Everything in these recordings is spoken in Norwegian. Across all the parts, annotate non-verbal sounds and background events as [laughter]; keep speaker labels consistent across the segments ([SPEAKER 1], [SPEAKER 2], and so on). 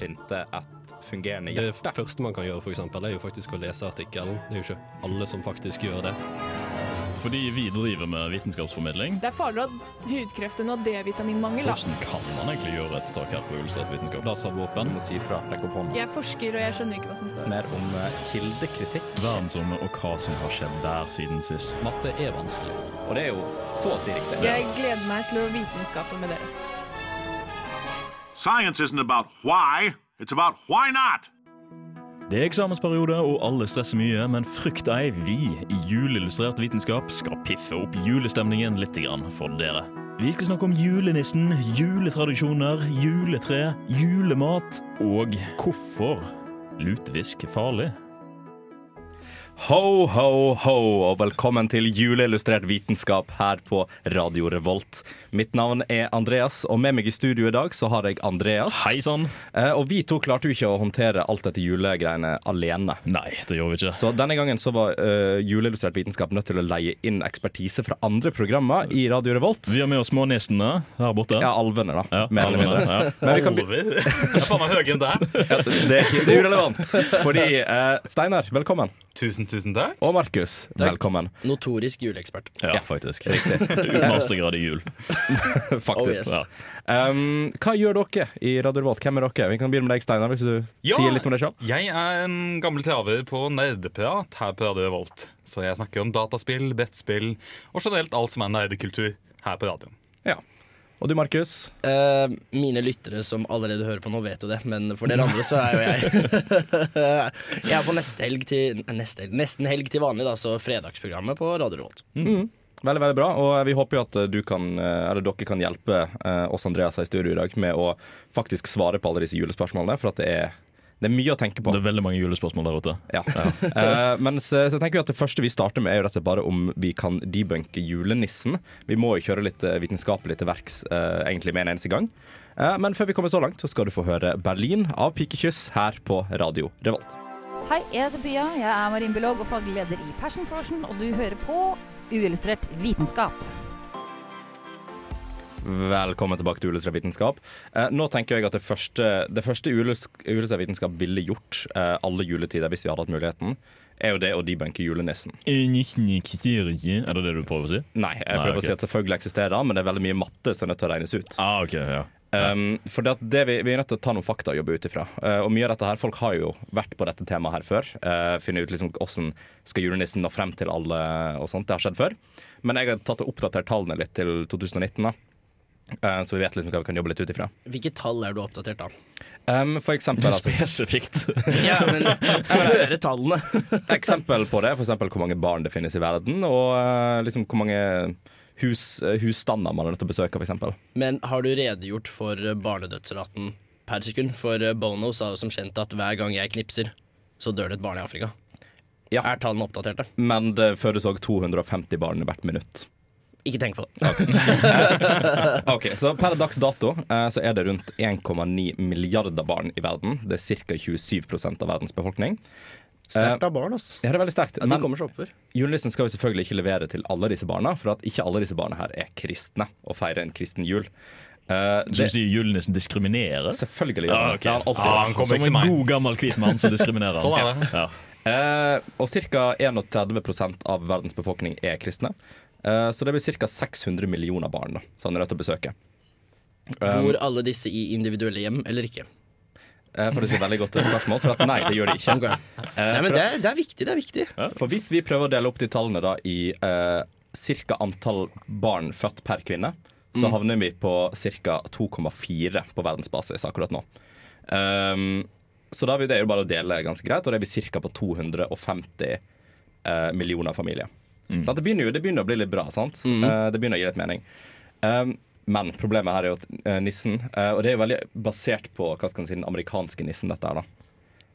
[SPEAKER 1] printe et fungerende
[SPEAKER 2] Det
[SPEAKER 1] hjerte.
[SPEAKER 2] første man kan gjøre, for eksempel, er jo faktisk å lese artikkelen. Det er jo ikke alle som faktisk gjør det.
[SPEAKER 3] Fordi vi driver med vitenskapsformidling.
[SPEAKER 4] Det er farligere at hudkreft enn å ha D-vitaminmangel. da.
[SPEAKER 3] Hvordan kan man egentlig gjøre et tak her på Ulstedt vitenskap?
[SPEAKER 1] Du
[SPEAKER 3] Laservåpen,
[SPEAKER 1] må si fra, rekk opp hånda.
[SPEAKER 4] Jeg forsker, og jeg skjønner ikke hva som står.
[SPEAKER 1] Mer om eh, kildekritikk.
[SPEAKER 3] verdensrommet og hva som har skjedd der siden sist.
[SPEAKER 2] Matte er vanskelig.
[SPEAKER 1] Og det er jo så å si riktig.
[SPEAKER 4] Jeg gleder meg til å vitenskape med dere.
[SPEAKER 5] Science isn't about why, it's about why not.
[SPEAKER 3] Det er eksamensperiode, og alle stresser mye, men frykt ei, vi i Juleillustrert vitenskap skal piffe opp julestemningen litt grann for dere. Vi skal snakke om julenissen, juletradisjoner, juletre, julemat og hvorfor lutfisk er farlig.
[SPEAKER 1] Ho, ho, ho, og velkommen til juleillustrert vitenskap her på Radio Revolt. Mitt navn er Andreas, og med meg i studio i dag så har jeg Andreas.
[SPEAKER 3] Hei sann!
[SPEAKER 1] Eh, og vi to klarte jo ikke å håndtere alt dette julegreiene alene.
[SPEAKER 3] Nei, det gjør vi ikke.
[SPEAKER 1] Så denne gangen så var eh, Juleillustrert vitenskap nødt til å leie inn ekspertise fra andre programmer i Radio Revolt.
[SPEAKER 3] Vi har med oss smånissene her borte.
[SPEAKER 1] Ja, alvene, da. mer eller mindre.
[SPEAKER 3] Ja.
[SPEAKER 1] Men vi kan be-
[SPEAKER 3] [laughs]
[SPEAKER 6] Alver? Jeg er faen meg høyere enn deg.
[SPEAKER 1] ja, det, er ikke- det er irrelevant. Fordi eh, Steinar, velkommen.
[SPEAKER 6] Tusen, tusen takk.
[SPEAKER 1] Og Markus, velkommen.
[SPEAKER 7] Notorisk juleekspert.
[SPEAKER 3] Ja, faktisk. Uten mastergrad i jul.
[SPEAKER 7] Oh,
[SPEAKER 1] Faktisk.
[SPEAKER 7] yes.
[SPEAKER 3] Ja.
[SPEAKER 1] Um, hva gjør dere i Radio Revolt? Hvem er dere? Vi kan begynne med deg, Steinar, hvis du
[SPEAKER 6] Ja.
[SPEAKER 1] sier litt om deg sjøl.
[SPEAKER 6] Jeg er en gammel traver på nerdeprat her på Radio Revolt. Så jeg snakker om dataspill, brettspill og generelt alt som er nerdekultur her på radioen.
[SPEAKER 1] Ja. Og du, Markus?
[SPEAKER 7] Eh, mine lyttere som allerede hører på nå, vet jo det, men for dere andre så er jo jeg [laughs] Jeg er på neste helg til nei, neste helg, Nesten helg til vanlig, da, så fredagsprogrammet på Radio Revolt.
[SPEAKER 1] Veldig, veldig bra, og eh, vi håper jo at du kan, eller dere kan hjelpe eh, oss Andreas her i studio i dag med å faktisk svare på alle disse julespørsmålene, for at det er, det er mye å tenke på.
[SPEAKER 3] Det er veldig mange julespørsmål der ute.
[SPEAKER 1] Ja. [laughs] Eh, men så, så tenker vi at det første vi starter med, er jo rett og slett bare om vi kan debunke julenissen. Vi må jo kjøre litt eh, vitenskapelig til verks eh, egentlig med en eneste gang. Eh, men før vi kommer så langt, så skal du få høre 'Berlin' av Pikekyss her på Radio Revolt.
[SPEAKER 8] Hei, jeg heter Pia. Jeg er marinbiolog og faglig leder i Passion Frosion, og du hører på Uillustrert vitenskap.
[SPEAKER 1] Velkommen tilbake til Uillustrert vitenskap. Eh, nå tenker jeg at det første, det første uillus- uillustrert vitenskap ville gjort eh, alle juletider, hvis vi hadde hatt muligheten, er jo det å debunke julenissen.
[SPEAKER 3] Nissen eksisterer ikke. Er det det du prøver å si?
[SPEAKER 1] Nei, jeg
[SPEAKER 3] Nei,
[SPEAKER 1] prøver
[SPEAKER 3] ok.
[SPEAKER 1] å si at selvfølgelig eksisterer han, men det er veldig mye matte som er nødt til å regnes ut.
[SPEAKER 3] Ah, ok, ja.
[SPEAKER 1] Um, for det at det vi, vi er nødt til å ta noen fakta å jobbe ut ifra. Eh, og mye av dette her, Folk har jo vært på dette temaet her før. Uh, funnet ut liksom hvordan skal julenissen nå frem til alle og sånt. Det har skjedd før. Men jeg har tatt og oppdatert tallene litt til 2019, da. Eh, så vi vet liksom hva vi kan jobbe litt ut ifra.
[SPEAKER 7] Hvilke tall er du oppdatert av?
[SPEAKER 1] Um, for eksempel, altså,
[SPEAKER 3] Spesifikt.
[SPEAKER 7] Ja, [laughs] men Få høre tallene.
[SPEAKER 1] eksempel på det, for eksempel hvor mange barn det finnes i verden, og eh, liksom hvor mange hus, eh, husstander man er nødt til å besøke, for eksempel.
[SPEAKER 7] Men har du redegjort for barnedødsraten per sekund? For Bono sa jo som kjent at hver gang jeg knipser, så dør det et barn i Afrika.
[SPEAKER 1] Ja.
[SPEAKER 7] Er tallene oppdaterte?
[SPEAKER 1] Men det fødes òg 250 barn hvert minutt.
[SPEAKER 7] Ikke tenk på det.
[SPEAKER 1] Ok, så Per dags dato eh, så er det rundt 1,9 milliarder barn i verden. Det er ca. 27 av verdens befolkning. Eh,
[SPEAKER 7] Sterkt av barn, ass.
[SPEAKER 1] Ja, det er veldig sterkt.
[SPEAKER 7] Ja, de
[SPEAKER 1] Men
[SPEAKER 7] kommer seg oppover.
[SPEAKER 1] julenissen skal jo selvfølgelig ikke levere til alle disse barna, for at ikke alle disse barna her er kristne og feirer en kristen jul. Eh,
[SPEAKER 3] Som
[SPEAKER 1] det,
[SPEAKER 3] sier julenissen diskriminerer?
[SPEAKER 1] selvfølgelig gjør
[SPEAKER 3] Ja,
[SPEAKER 1] han
[SPEAKER 3] ok.
[SPEAKER 1] det. har han alltid
[SPEAKER 6] Ah,
[SPEAKER 1] gjort.
[SPEAKER 6] han kommer
[SPEAKER 3] Som
[SPEAKER 6] ikke til
[SPEAKER 3] en
[SPEAKER 6] meg.
[SPEAKER 3] god gammel hvit mann som diskriminerer.
[SPEAKER 6] Sånn er det.
[SPEAKER 3] Ja.
[SPEAKER 1] Eh, og ca. 31 av verdens befolkning er kristne. Eh, så det blir ca. 600 millioner barn da, som han er nødt til å besøke.
[SPEAKER 7] Bor alle disse i individuelle hjem eller ikke?
[SPEAKER 1] Eh, for det er et veldig godt spørsmål, for at nei, det gjør de ikke.
[SPEAKER 7] Ok.
[SPEAKER 1] Eh,
[SPEAKER 7] Nei,
[SPEAKER 1] for
[SPEAKER 7] men det, er- det er viktig, det er viktig.
[SPEAKER 1] For hvis vi prøver å dele opp de tallene da i eh, ca. antall barn født per kvinne, så havner vi på ca. 2,4 på verdensbasis akkurat nå. Ehm, så da er vi- det er jo bare å dele ganske greit, og det er vi ca. på 250 eh, millioner familier. Sant? Det, begynner jo, det begynner å bli litt bra, sant? Eh, det begynner å gi litt mening. Ehm, men problemet her er jo at eh, nissen, eh, og det er jo veldig basert på hva skal man si, den amerikanske nissen, dette her, da.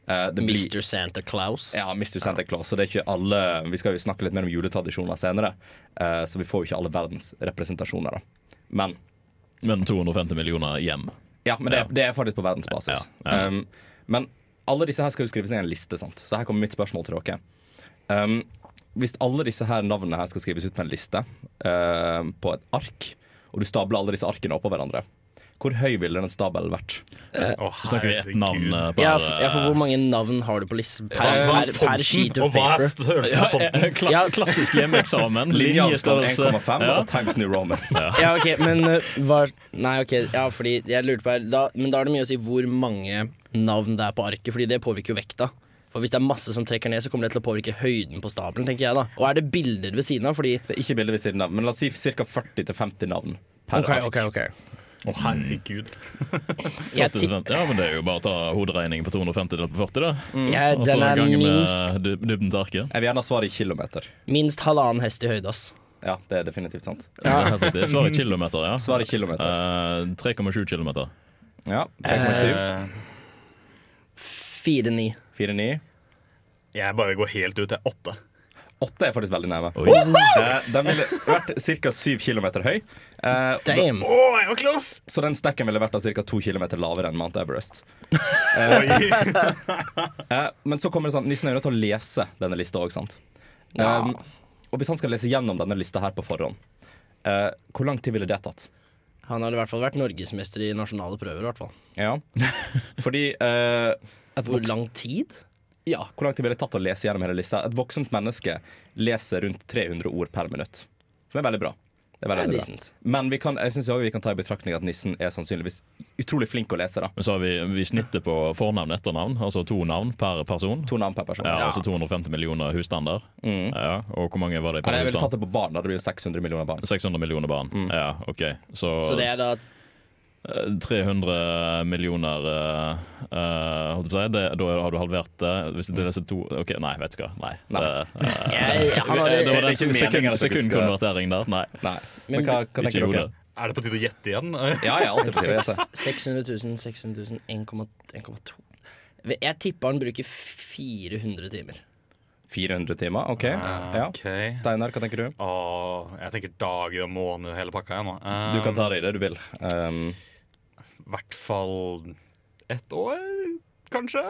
[SPEAKER 1] Eh, det blir-
[SPEAKER 7] Mr. Santa Claus.
[SPEAKER 1] ja, Mr. Santa Claus. Så det er ikke alle Vi skal jo snakke litt mer om juletradisjoner senere, eh, så vi får jo ikke alle verdens representasjoner, da. Men
[SPEAKER 3] Men 250 millioner hjem.
[SPEAKER 1] ja, men det,
[SPEAKER 3] Ja.
[SPEAKER 1] det er faktisk på verdensbasis.
[SPEAKER 3] Ja, ja.
[SPEAKER 1] Um, men alle disse her skal jo skrives ned i en liste, sant? så her kommer mitt spørsmål til dere. Um, hvis alle disse her navnene her skal skrives ut på en liste, um, på et ark, og du stabler alle disse arkene oppå hverandre, Hvor høy ville den stabelen vært?
[SPEAKER 6] Å,
[SPEAKER 3] Snakker vi ett
[SPEAKER 6] herregud.
[SPEAKER 3] navn eh, per
[SPEAKER 7] Ja, f- ja, for hvor mange navn har du på listen? Per,
[SPEAKER 6] Hva
[SPEAKER 7] per,
[SPEAKER 6] er
[SPEAKER 7] per
[SPEAKER 6] fonten?
[SPEAKER 7] sheet
[SPEAKER 6] Og
[SPEAKER 7] of
[SPEAKER 6] hva er
[SPEAKER 7] paper.
[SPEAKER 6] størrelsen på fonten?
[SPEAKER 3] Eh, klass,
[SPEAKER 7] Ja.
[SPEAKER 3] Klassisk hjemmeeksamen.
[SPEAKER 1] Linjavstand
[SPEAKER 3] Linjestørrelse.
[SPEAKER 1] 1,5
[SPEAKER 3] Ja.
[SPEAKER 1] og [laughs] Times New Roman.
[SPEAKER 7] Ja, ok, men eh, hva Nei, ok, ja, fordi jeg lurte på her da, Men da er det mye å si hvor mange navn det er på arket, Fordi det påvirker jo vekta. For hvis det er masse som trekker ned, så kommer det til å påvirke høyden på stabelen, tenker jeg da. Og er det bilder ved siden av, fordi
[SPEAKER 1] Det er ikke bildet ved siden av, men la oss si ca. 40-50 navn per
[SPEAKER 7] Ok,
[SPEAKER 1] ark.
[SPEAKER 7] ok, ok.
[SPEAKER 6] Å, herregud.
[SPEAKER 7] Jeg, ti-
[SPEAKER 3] 80%. Ja, men det er jo bare å ta hoderegningen på 250 delt på 40, da.
[SPEAKER 7] jeg,
[SPEAKER 3] Og så
[SPEAKER 7] den er
[SPEAKER 3] gange
[SPEAKER 7] minst,
[SPEAKER 3] med dyb- dybden til arket.
[SPEAKER 1] Jeg vil gjerne ha svaret i kilometer.
[SPEAKER 7] minst halvannen hest i høyde, ass.
[SPEAKER 1] Ja, det er definitivt sant.
[SPEAKER 3] Det er helt riktig. Svaret er kilometer, ja.
[SPEAKER 1] Svaret er kilometer.
[SPEAKER 3] Eh, 3,7 kilometer.
[SPEAKER 1] Ja, 3,7.
[SPEAKER 6] Eh,
[SPEAKER 7] 4-9.
[SPEAKER 1] 4,9.
[SPEAKER 6] Jeg bare går helt ut til åtte.
[SPEAKER 1] 8 er faktisk veldig nærme.
[SPEAKER 3] Oi.
[SPEAKER 1] Eh, Den ville vært ca. 7 km høy. Eh,
[SPEAKER 7] Damn!
[SPEAKER 1] Så den stekken ville vært ca. 2 km lavere enn Mount Everest. Eh, eh, men så kommer det sånn Nissen er jo nødt til å lese denne lista òg, sant. Um, og hvis han skal lese gjennom denne lista her på forhånd, eh, hvor lang tid ville det tatt?
[SPEAKER 7] Han har i hvert fall vært norgesmester i nasjonale prøver, i hvert fall.
[SPEAKER 1] Ja. Fordi eh, et
[SPEAKER 7] Hvor
[SPEAKER 1] voksen-
[SPEAKER 7] lang tid?
[SPEAKER 1] Ja, hvor lang tid ville det tatt å lese gjennom hele lista? Et voksent menneske leser rundt 300 ord per minutt. Som er veldig bra. Det er veldig,
[SPEAKER 7] Det er
[SPEAKER 1] veldig bra.
[SPEAKER 7] decent.
[SPEAKER 1] Men vi kan, jeg synes også vi kan ta i betraktning at nissen er sannsynligvis utrolig flink å lese. da.
[SPEAKER 3] Men så har vi, vi snittet på fornavn og etternavn, altså to navn per person.
[SPEAKER 1] To navn per person.
[SPEAKER 3] Ja, altså 250 millioner husstander. Ja, og hvor mange var det
[SPEAKER 1] Nei,
[SPEAKER 3] per
[SPEAKER 1] jeg ville tatt
[SPEAKER 3] husstand?
[SPEAKER 1] det på barn. da. Det blir jo 600 millioner barn.
[SPEAKER 3] 600 millioner barn. Ja, OK. Så,
[SPEAKER 7] Så det er da
[SPEAKER 3] eh, 300 millioner eh, eh, holdt jeg på å si, det, Da har du halvert det. Hvis du leser to OK, nei, vet du hva. Nei.
[SPEAKER 1] Nei.
[SPEAKER 3] Det, eh,
[SPEAKER 7] [laughs] jeg, han har,
[SPEAKER 3] det var
[SPEAKER 1] er
[SPEAKER 3] den
[SPEAKER 1] ikke meningen at
[SPEAKER 3] sekund,
[SPEAKER 1] dere skal-
[SPEAKER 3] sekundkonvertering der. Nei.
[SPEAKER 1] Nei, Men hva, hva
[SPEAKER 3] Ikke i
[SPEAKER 1] tenker dere?
[SPEAKER 3] hodet.
[SPEAKER 6] Er det på tide å gjette igjen? [laughs]
[SPEAKER 1] Ja, ja, alltid på tide. å gjette.
[SPEAKER 7] 600 000, 600 000, 1,2 Jeg tipper han bruker 400 timer.
[SPEAKER 1] 400 timer, OK. Ja.
[SPEAKER 6] Ok.
[SPEAKER 1] Steinar, hva tenker du?
[SPEAKER 6] Åh, jeg tenker dager og måneder og hele pakka. Jeg, nå. Eh,
[SPEAKER 1] Du kan ta det i det du vil. Um,
[SPEAKER 6] I hvert fall ett år, kanskje?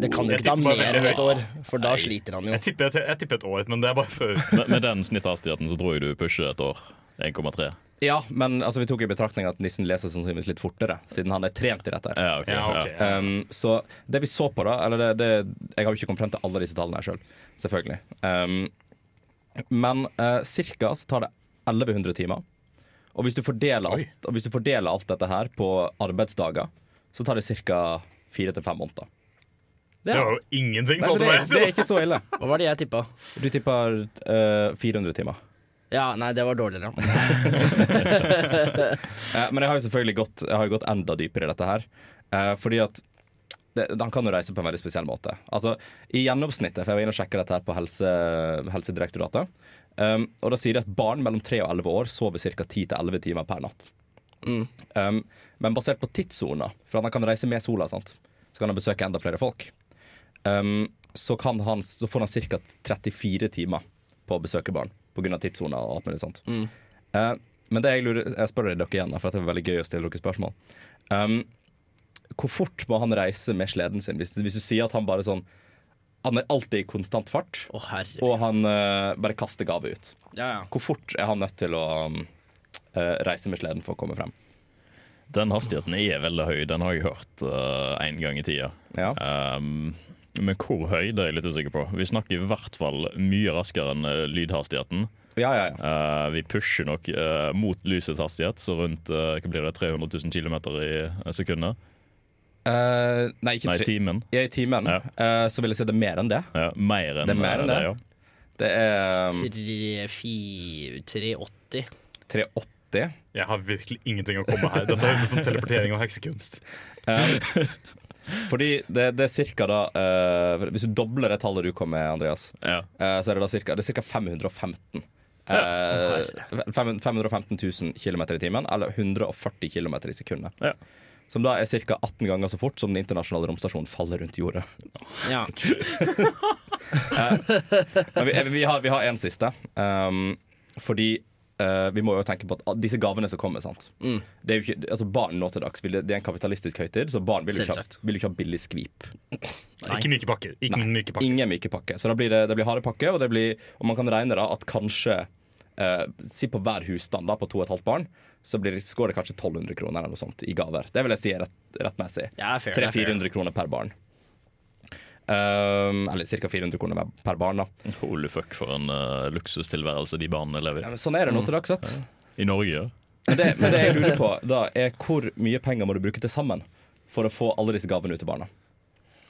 [SPEAKER 7] Det kan jo
[SPEAKER 6] Jeg
[SPEAKER 7] ikke ta
[SPEAKER 6] tipper
[SPEAKER 7] mer
[SPEAKER 6] veldig
[SPEAKER 7] enn
[SPEAKER 6] høyt.
[SPEAKER 7] et år, for da sliter han jo.
[SPEAKER 6] Jeg tipper, jeg tipper et år, men det er bare
[SPEAKER 1] [laughs]
[SPEAKER 6] før.
[SPEAKER 3] Med, med den snitthastigheten så tror jeg du pusher et år. 1,3.
[SPEAKER 1] ja, men altså, vi tok i betraktning at nissen leser sannsynligvis litt fortere, siden han er trent i dette. her.
[SPEAKER 3] Ja, ok.
[SPEAKER 6] Ja,
[SPEAKER 3] ja.
[SPEAKER 6] ok. Ja.
[SPEAKER 1] Um, så det vi så på, da eller det, det, Jeg har jo ikke kommet frem til alle disse tallene her sjøl, selvfølgelig. Um, men uh, cirka så tar det 1100 timer. Og hvis du fordeler alt, og hvis du fordeler alt dette her på arbeidsdager, så tar det ca. fire til fem måneder.
[SPEAKER 6] Det var jo ingenting.
[SPEAKER 1] Nei, så
[SPEAKER 6] for
[SPEAKER 1] det, er-
[SPEAKER 6] meg.
[SPEAKER 1] det er ikke så ille.
[SPEAKER 7] Hva var det jeg tippa?
[SPEAKER 1] Du tipper uh, 400 timer.
[SPEAKER 7] Ja, nei, det var dårligere.
[SPEAKER 1] Eh, men jeg har jo selvfølgelig gått, jeg har jo gått enda dypere i dette her. Eh, fordi at det, han kan jo reise på en veldig spesiell måte. Altså, I gjennomsnittet, for jeg var inne og sjekka dette her på helse, Helsedirektoratet, um, og da sier de at barn mellom 3 og 11 år sover ca. 10-11 timer per natt. Um, men basert på tidssoner, for at han kan reise med sola, sant? så kan han besøke enda flere folk, um, så, kan han, så får han ca. 34 timer på å besøke barn pga. tidssoner og alt mulig sånt. Eh, men det jeg, lurer, jeg spør dere igjen, da, for at det var veldig gøy å stille dere spørsmål. Um, hvor fort må han reise med sleden sin? Hvis, hvis du sier at han bare sånn Han er alltid i konstant fart,
[SPEAKER 7] Å, herre.
[SPEAKER 1] og han eh, bare kaster gave ut.
[SPEAKER 7] Ja, ja.
[SPEAKER 1] Hvor fort er han nødt til å um, eh, reise med sleden for å komme frem?
[SPEAKER 3] Den hastigheten er veldig høy, den har jeg hørt én gang i tida.
[SPEAKER 1] Ja.
[SPEAKER 3] Um, men hvor høy, det er jeg litt usikker på. Vi snakker i hvert fall mye raskere enn eh, lydhastigheten.
[SPEAKER 1] Ja, ja, ja.
[SPEAKER 3] Eh, vi pusher nok eh, mot lysets hastighet, så rundt eh, hva blir det, 300 000 km i eh, sekundet.
[SPEAKER 1] Eh, nei, ikke
[SPEAKER 3] Nei,
[SPEAKER 1] tre.
[SPEAKER 3] timen.
[SPEAKER 1] Ja, I timen.
[SPEAKER 3] Ja.
[SPEAKER 1] Eh, så vil jeg si det er mer enn det.
[SPEAKER 3] Ja, mer enn
[SPEAKER 1] Det er mer enn
[SPEAKER 3] eh,
[SPEAKER 1] det. Det er um,
[SPEAKER 7] 380.
[SPEAKER 1] 380.
[SPEAKER 6] Jeg har virkelig ingenting å komme her. Dette høres ut som teleportering og heksekunst.
[SPEAKER 1] Fordi det, det er cirka da eh, Hvis du dobler det tallet du kom med, Andreas,
[SPEAKER 3] Ja. ja.
[SPEAKER 1] Eh, så er det da cirka, det er cirka 515. Eh, fem- 515 000 km i timen, eller 140 km i sekundet.
[SPEAKER 3] Ja.
[SPEAKER 1] Som da er ca. 18 ganger så fort som den internasjonale romstasjonen faller rundt jorda.
[SPEAKER 7] Ja.
[SPEAKER 1] Men vi, eh, vi, har, vi har en siste. Um, fordi eh, vi må jo tenke på at disse gavene som kommer, sant.
[SPEAKER 7] Mm.
[SPEAKER 1] Det er jo ikke, altså barn nå til dags vil, det- Det er en kapitalistisk høytid, så barn vil jo ikke, ha-
[SPEAKER 7] Selvsagt.
[SPEAKER 1] vil jo ikke ha billig skvip.
[SPEAKER 6] Ikke myke pakker. Ikke myke pakker.
[SPEAKER 1] Ingen myke pakke. Så da blir det, det blir harde pakke, og, det blir, og man kan regne da at kanskje eh, Si på hver husstand da, på to og et halvt barn, så blir det, går det kanskje 1200 kroner eller noe sånt i gaver. Det vil jeg si er rett, rettmessig.
[SPEAKER 7] Ja, fair, det er fair.
[SPEAKER 1] 300-400 kroner per barn. Um, eller ca. 400 kroner per barn, da.
[SPEAKER 3] Holy fuck, for en eh, luksustilværelse de barna lever
[SPEAKER 1] Ja,
[SPEAKER 3] i.
[SPEAKER 1] men sånn er det nå til dags. vet du.
[SPEAKER 3] I Norge, ja.
[SPEAKER 1] Men det, men det jeg lurer på, da, er hvor mye penger må du bruke til sammen for å få alle disse gavene ut til barna?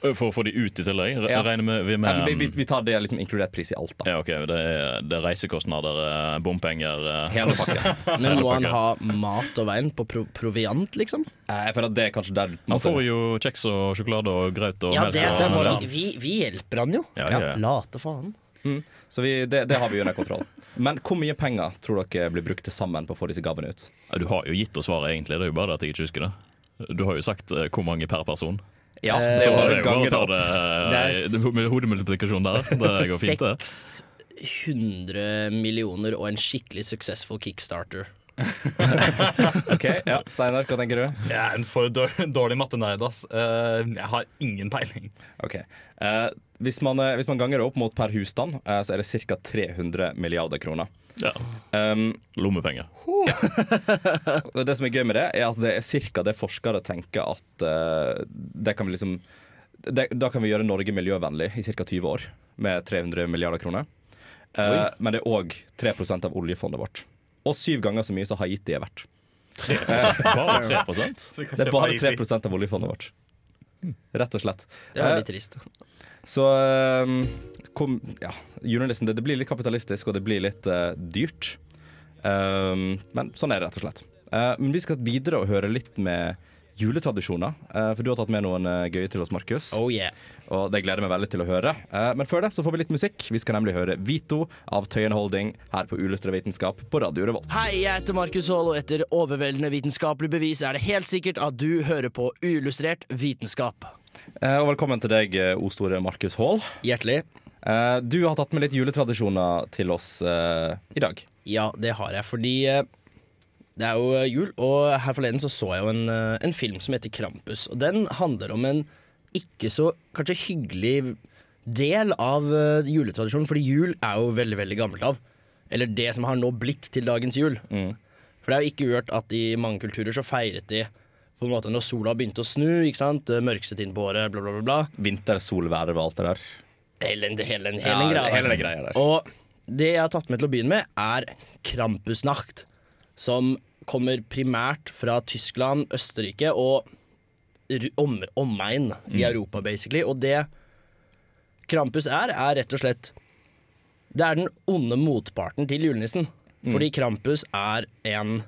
[SPEAKER 3] Ø, Eh, For å få de ut i tillegg? Re-
[SPEAKER 1] Ja.
[SPEAKER 3] Regner med, vi
[SPEAKER 1] Nei,
[SPEAKER 3] med
[SPEAKER 1] men vi, vi, vi tar det liksom inkludert pris i alt, da.
[SPEAKER 3] Ja, ok, det er, det er reisekostnader, eh, bompenger eh,
[SPEAKER 1] Hele pakka.
[SPEAKER 7] Men må han
[SPEAKER 3] pakke.
[SPEAKER 7] ha mat og veien på pro proviant, liksom?
[SPEAKER 1] Eh, Jeg føler at det er kanskje der
[SPEAKER 3] Man får jo kjeks og sjokolade og grøt og
[SPEAKER 7] Ja,
[SPEAKER 3] melk
[SPEAKER 7] det er
[SPEAKER 3] og-
[SPEAKER 7] sant. Vi, vi, vi hjelper han jo.
[SPEAKER 3] Ja, ja, ja.
[SPEAKER 7] Late faen.
[SPEAKER 1] Så vi, det, det har vi under kontroll. Men hvor mye penger tror dere blir brukt til sammen på å få disse gavene ut?
[SPEAKER 3] Ja, Du har jo gitt oss svaret, egentlig. Det er jo bare det at jeg ikke husker det. Du har jo sagt eh, hvor mange per person.
[SPEAKER 1] Ja,
[SPEAKER 7] det
[SPEAKER 1] det
[SPEAKER 7] er
[SPEAKER 3] Så
[SPEAKER 1] var
[SPEAKER 3] det er jo bare å ta
[SPEAKER 1] Eh, opp.
[SPEAKER 3] det,
[SPEAKER 7] Eh, Det er
[SPEAKER 3] eh,
[SPEAKER 7] s-
[SPEAKER 3] det er med hodemultiplikasjon der. Det går fint, det.
[SPEAKER 7] 600 millioner og en skikkelig successful kickstarter.
[SPEAKER 1] Ok, ja. Steinar, hva tenker du?
[SPEAKER 6] Jeg er en for dårlig, [laughs] dårlig mattenerd, ass. Eh, jeg har ingen peiling.
[SPEAKER 1] Ok. Eh, hvis, man, eh, hvis man ganger det opp mot per husstand, eh, så er det ca. 300 milliarder kroner.
[SPEAKER 3] Ja.
[SPEAKER 1] Um,
[SPEAKER 3] Lommepenger.
[SPEAKER 1] Og Det som er gøy med det, er at det er cirka det forskere tenker at eh, det kan vi liksom det, Da kan vi gjøre Norge miljøvennlig i ca. 20 år med 300 milliarder kroner. Eh, men det er òg 3 av oljefondet vårt. Og syv ganger så mye som Haiti er verdt.
[SPEAKER 3] Bare 3
[SPEAKER 1] Det er bare 3 av oljefondet vårt. Rett og slett.
[SPEAKER 7] Det var
[SPEAKER 1] Eh,
[SPEAKER 7] litt trist.
[SPEAKER 1] Så eh, kom, ja, julenissen, det, det blir litt kapitalistisk, og det blir litt eh, dyrt. Um, men sånn er det, rett og slett. Eh, men vi skal videre og høre litt med juletradisjoner. eh, for du har tatt med noen eh, gøye til oss, Markus.
[SPEAKER 7] Oh yeah.
[SPEAKER 1] Og det gleder jeg meg veldig til å høre. Eh, men før det så får vi litt musikk. Vi skal nemlig høre Vito av Tøyen Holding her på Ulystrede vitenskap på Radio Revolt.
[SPEAKER 7] Hei, jeg heter Markus Haall, og etter overveldende vitenskapelig bevis er det helt sikkert at du hører på uillustrert vitenskap.
[SPEAKER 1] Eh, og velkommen til deg, eh, O store Markus Hall.
[SPEAKER 7] Hjertelig.
[SPEAKER 1] Eh, du har tatt med litt juletradisjoner til oss eh, i dag.
[SPEAKER 7] Ja, det har jeg, fordi eh, det er jo eh, jul, og her forleden så, så jeg jo en, eh, en film som heter Krampus. Og den handler om en ikke så kanskje hyggelig del av eh, juletradisjonen, fordi jul er jo veldig, veldig gammelt av. Eller det som har nå blitt til dagens jul. For det er jo ikke uhørt at i mange kulturer så feiret de på en måte når sola begynte å snu, ikke sant? Det mørkset inn på året, bla, bla, bla. bla.
[SPEAKER 1] Vinter, sol, værerv og alt det der.
[SPEAKER 7] Hele, hele, hele, hele,
[SPEAKER 1] Ja,
[SPEAKER 7] den greia. der.
[SPEAKER 1] hele den greia der.
[SPEAKER 7] Og det jeg har tatt med til å begynne med, er Krampusnacht. Som kommer primært fra Tyskland, Østerrike og ru- om, omegn i
[SPEAKER 1] Mm.
[SPEAKER 7] Europa, basically. Og det Krampus er, er rett og slett Det er den onde motparten til julenissen.
[SPEAKER 1] Mm.
[SPEAKER 7] Fordi Krampus er en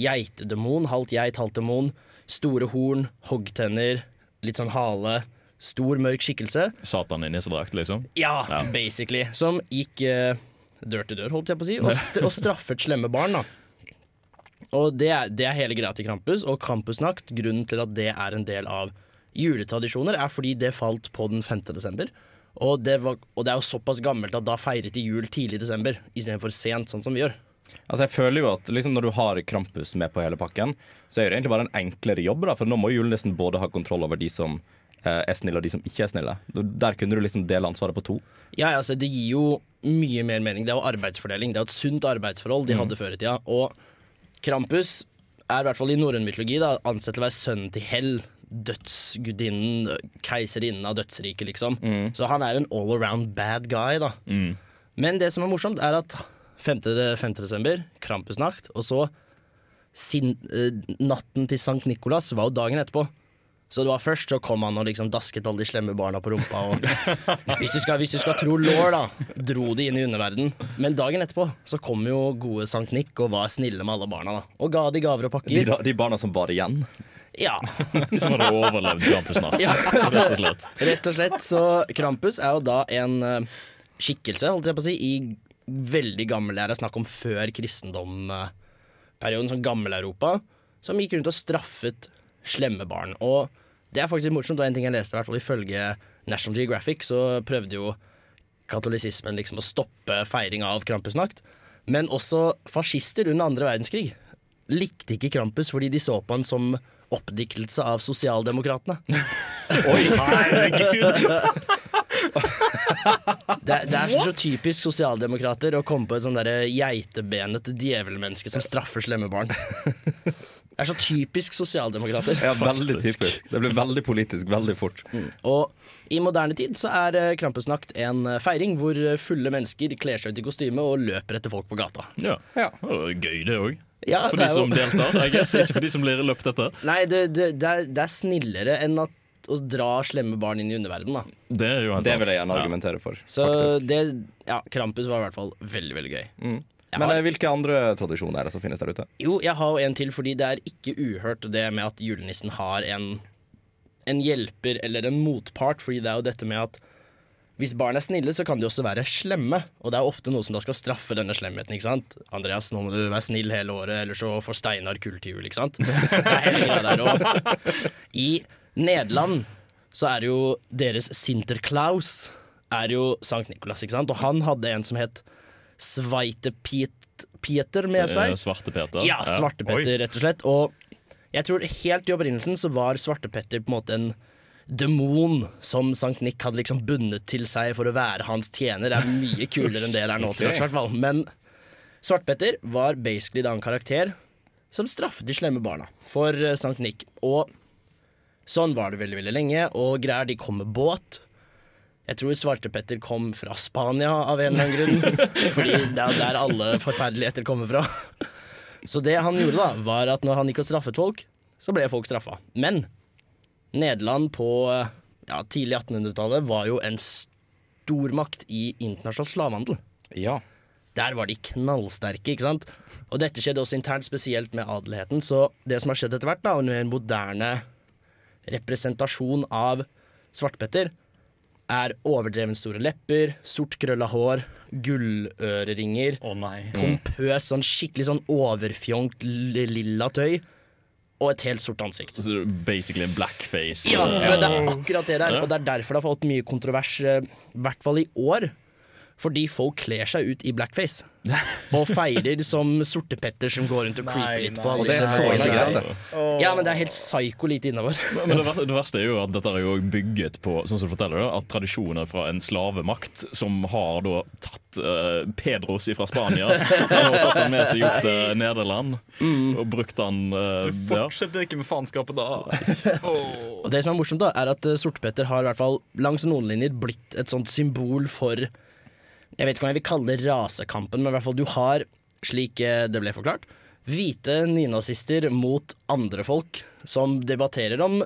[SPEAKER 7] geitedemon. Halvt geit, halvt demon. Store horn, hoggtenner, litt sånn hale. Stor, mørk skikkelse.
[SPEAKER 3] Satan i nissedrakt, liksom.
[SPEAKER 7] Ja, basically. Som gikk eh, dør til dør, holdt jeg på å si, og, st og straffet slemme barn. da. Og det er, det er hele greia til Krampus og Krampusnakt. Grunnen til at det er en del av juletradisjoner, er fordi det falt på den 5. desember. Og det, var, og det er jo såpass gammelt at da feiret de jul tidlig i desember istedenfor sent, sånn som vi gjør.
[SPEAKER 1] Altså jeg føler jo at liksom Når du har Krampus med på hele pakken, så er det egentlig bare en enklere jobb. da For nå må jo julenissen både ha kontroll over de som eh, er snille, og de som ikke er snille. Der kunne du liksom dele ansvaret på to.
[SPEAKER 7] Ja, ja, altså, det gir jo mye mer mening. Det er jo arbeidsfordeling. Det er jo et sunt arbeidsforhold de hadde før i tida. Og Krampus er i hvert fall i norrøn mytologi da, ansett til å være sønnen til Hell. Dødsgudinnen, keiserinnen av dødsriket, liksom. Så han er en all around bad guy, da. Men det som er morsomt, er at 5. de- 5. desember, Krampusnacht, og så sin, eh, natten til Sankt Nikolas var jo dagen etterpå. Så det var først så kom han og liksom dasket alle de slemme barna på rumpa.
[SPEAKER 1] [laughs]
[SPEAKER 7] Og hvis, du skal, hvis du skal tro law, da, dro de inn i underverden. Men dagen etterpå så kom jo gode Sankt Nick og var snille med alle barna. da Og ga de gaver og
[SPEAKER 1] De,
[SPEAKER 7] pakker.
[SPEAKER 1] da- de barna som var igjen.
[SPEAKER 7] Ja,
[SPEAKER 3] [laughs] De som hadde
[SPEAKER 1] [laughs]
[SPEAKER 3] overlevd Krampusnatt, rett og slett.
[SPEAKER 7] [laughs] Rett og slett. Så Krampus er jo da en eh, skikkelse, holdt jeg på å si, i veldig gammel æra. Snakk om før kristendomperioden, sånn gammel-Europa, som gikk rundt og straffet slemme barn. Og det er faktisk litt morsomt, og en ting jeg leste, i hvert fall ifølge National Geographic, så prøvde jo katolisismen liksom å stoppe feiring av Krampusnakt. Men også fascister under andre verdenskrig likte ikke Krampus fordi de så på han som oppdiktelse av sosialdemokratene.
[SPEAKER 6] Herregud!
[SPEAKER 7] Det, er- det er så typisk sosialdemokrater å komme på et sånn derre geitebenet djevelmenneske som straffer slemme barn. Det er så typisk sosialdemokrater.
[SPEAKER 1] Ja, veldig typisk. Det blir veldig politisk veldig fort.
[SPEAKER 7] Og i moderne tid så er eh, Krampusnakt en eh, feiring hvor eh, fulle mennesker kler seg ut i kostyme og løper etter folk på gata.
[SPEAKER 3] Ja.
[SPEAKER 1] Ja.
[SPEAKER 3] Det var gøy, det òg.
[SPEAKER 7] Ja,
[SPEAKER 3] for de
[SPEAKER 7] det er jo-
[SPEAKER 3] som deltar. I guess. Ikke for de som blir løpt etter.
[SPEAKER 7] Nei, det, det, det, er, det er snillere enn at, å dra slemme barn inn i underverdenen, da.
[SPEAKER 3] Det er jo helt
[SPEAKER 1] Det vil jeg gjerne
[SPEAKER 3] Ja.
[SPEAKER 1] argumentere for.
[SPEAKER 7] Så
[SPEAKER 1] Sånn. faktisk.
[SPEAKER 7] det Ja, Krampus var i hvert fall veldig, veldig gøy. Jeg
[SPEAKER 1] Men
[SPEAKER 7] har,
[SPEAKER 1] eh, hvilke andre tradisjoner er det som finnes der ute?
[SPEAKER 7] jo, jeg har jo en til, fordi det er ikke uhørt det med at julenissen har en, en hjelper eller en motpart, fordi det er jo dette med at hvis barn er snille, så kan de også være slemme, og det er ofte noe som da skal straffe denne slemheten, ikke sant? Andreas, nå må du være snill hele året, ellers så får Steinar kull til jul, ikke sant? Det er hele greia der også. I Nederland så er jo deres Sinterklaus er jo Sankt Nikolas, ikke sant? Og han hadde en som het Sveite Piet, Pieter med
[SPEAKER 3] Eh,
[SPEAKER 7] seg.
[SPEAKER 3] Svarte Peter.
[SPEAKER 7] Ja, Svartepetter, rett og slett. Og jeg tror helt i opprinnelsen så var Svartepetter på en måte en demon som Sankt Nick hadde liksom bundet til seg for å være hans tjener. Det er mye kulere enn det det er nå, til
[SPEAKER 1] Ok.
[SPEAKER 7] hvert fall. Men Svartepetter var basically da en karakter som straffet de slemme barna for eh, Sankt Nick. Og sånn var det veldig, veldig lenge. Og greier, de kom med båt. Jeg tror Svartepetter kom fra Spania av en eller annen grunn. Fordi det er der alle forferdeligheter kommer fra. Så det han gjorde, da, var at når han gikk og straffet folk, så ble folk straffa. Men Nederland på eh, ja, tidlig 1800-tallet var jo en stormakt i internasjonal slavehandel.
[SPEAKER 1] Ja.
[SPEAKER 7] Der var de knallsterke, ikke sant? Og dette skjedde også internt, spesielt med adelheten. Så det som har skjedd etter hvert, da, under en moderne representasjon av svartpetter, er overdreven store lepper, sort krølla hår, gulløreringer
[SPEAKER 6] Å nei.
[SPEAKER 7] pompøs, sånn skikkelig sånn overfjongt li- lilla tøy og et helt sort ansikt.
[SPEAKER 3] Så basically en blackface.
[SPEAKER 7] Ja,
[SPEAKER 3] eh,
[SPEAKER 7] men det er akkurat det der, og det er derfor det har fått mye kontrovers, eh, i hvert fall i år. Fordi folk kler seg ut i blackface og feirer som sortepetter som går rundt og creeper litt på alle.
[SPEAKER 1] Og det er
[SPEAKER 7] disse
[SPEAKER 1] så
[SPEAKER 7] folkene,
[SPEAKER 1] ikke
[SPEAKER 7] ikke
[SPEAKER 1] greit.
[SPEAKER 7] sant? Ja, men det er helt psyko lite innafor.
[SPEAKER 3] Men det, ver- det verste er jo at dette er jo bygget på sånn som du forteller det, at tradisjoner fra en slavemakt som har da tatt eh, Pedros fra
[SPEAKER 1] [laughs]
[SPEAKER 3] Spania og tatt han med seg opp til Nederland
[SPEAKER 1] Mm.
[SPEAKER 3] og brukt han eh, ja.
[SPEAKER 6] Fortsetter ikke med faenskapet [laughs] da.
[SPEAKER 7] Og det som er morsomt, da, er at eh, Sortepetter har i hvert fall langs noen linjer blitt et sånt symbol for Jeg vet ikke om jeg vil kalle det rasekampen, men i hvert fall du har, slik eh, det ble forklart, hvite nynazister mot andre folk som debatterer om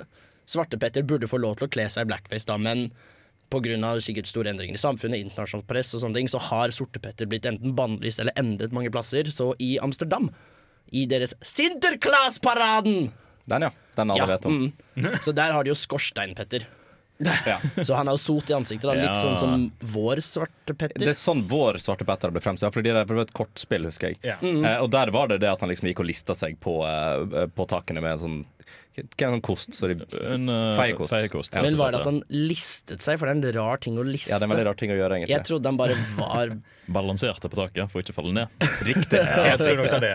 [SPEAKER 7] Svartepetter burde få lov til å kle seg i blackface, da, men pga. sikkert store endringer i samfunnet, internasjonalt press og sånne ting, så har Sortepetter blitt enten bannlyst eller endret mange plasser. Så i Amsterdam, i deres Sinterklaas-paraden
[SPEAKER 1] Den, ja. Den alle vet om.
[SPEAKER 7] mm. [laughs] Så der har de jo skorsteinpetter.
[SPEAKER 1] Ja.
[SPEAKER 7] Så han har jo sot i ansiktet, da. litt
[SPEAKER 3] Ja.
[SPEAKER 7] sånn som vår svarte
[SPEAKER 1] Det
[SPEAKER 7] Petter.
[SPEAKER 1] er sånn vår Svarte Petter ble fremstilt. Fordi det var et kortspill, husker jeg.
[SPEAKER 6] Ja.
[SPEAKER 1] Eh, og der var det det at han liksom gikk og lista seg på, eh, på takene med en sånn Hva er en sånn kost? Så de,
[SPEAKER 3] En eh,
[SPEAKER 1] Feiekost.
[SPEAKER 3] feiekost.
[SPEAKER 7] Men var det at han listet seg, for det er en rar ting å liste.
[SPEAKER 1] ja, det er en veldig rar ting å gjøre,
[SPEAKER 7] Jeg
[SPEAKER 1] egentlig.
[SPEAKER 7] trodde han bare var
[SPEAKER 3] Balanserte på taket for ikke å falle ned.
[SPEAKER 1] [laughs] Riktig.
[SPEAKER 6] Jeg tror nok det er det,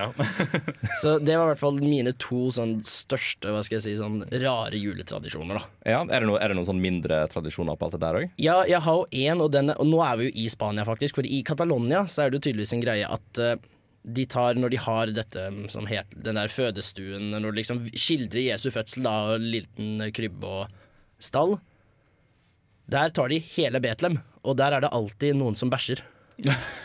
[SPEAKER 6] ja.
[SPEAKER 7] Så det var i hvert fall mine to sånn største, hva skal jeg si, sånn rare juletradisjoner, da.
[SPEAKER 1] Ja, er det noen noe sånn mindre tradisjoner på alt det der òg?
[SPEAKER 7] Ja, jeg har jo én, og, denne- og nå er vi jo i Spania, faktisk. For i Catalonia så er det jo tydeligvis en greie at eh, de tar, når de har dette mm, som heter den der fødestuen, når de liksom skildrer Jesu fødsel, da, og liten krybbe og stall Der tar de hele Betlehem, og der er det alltid noen som bæsjer.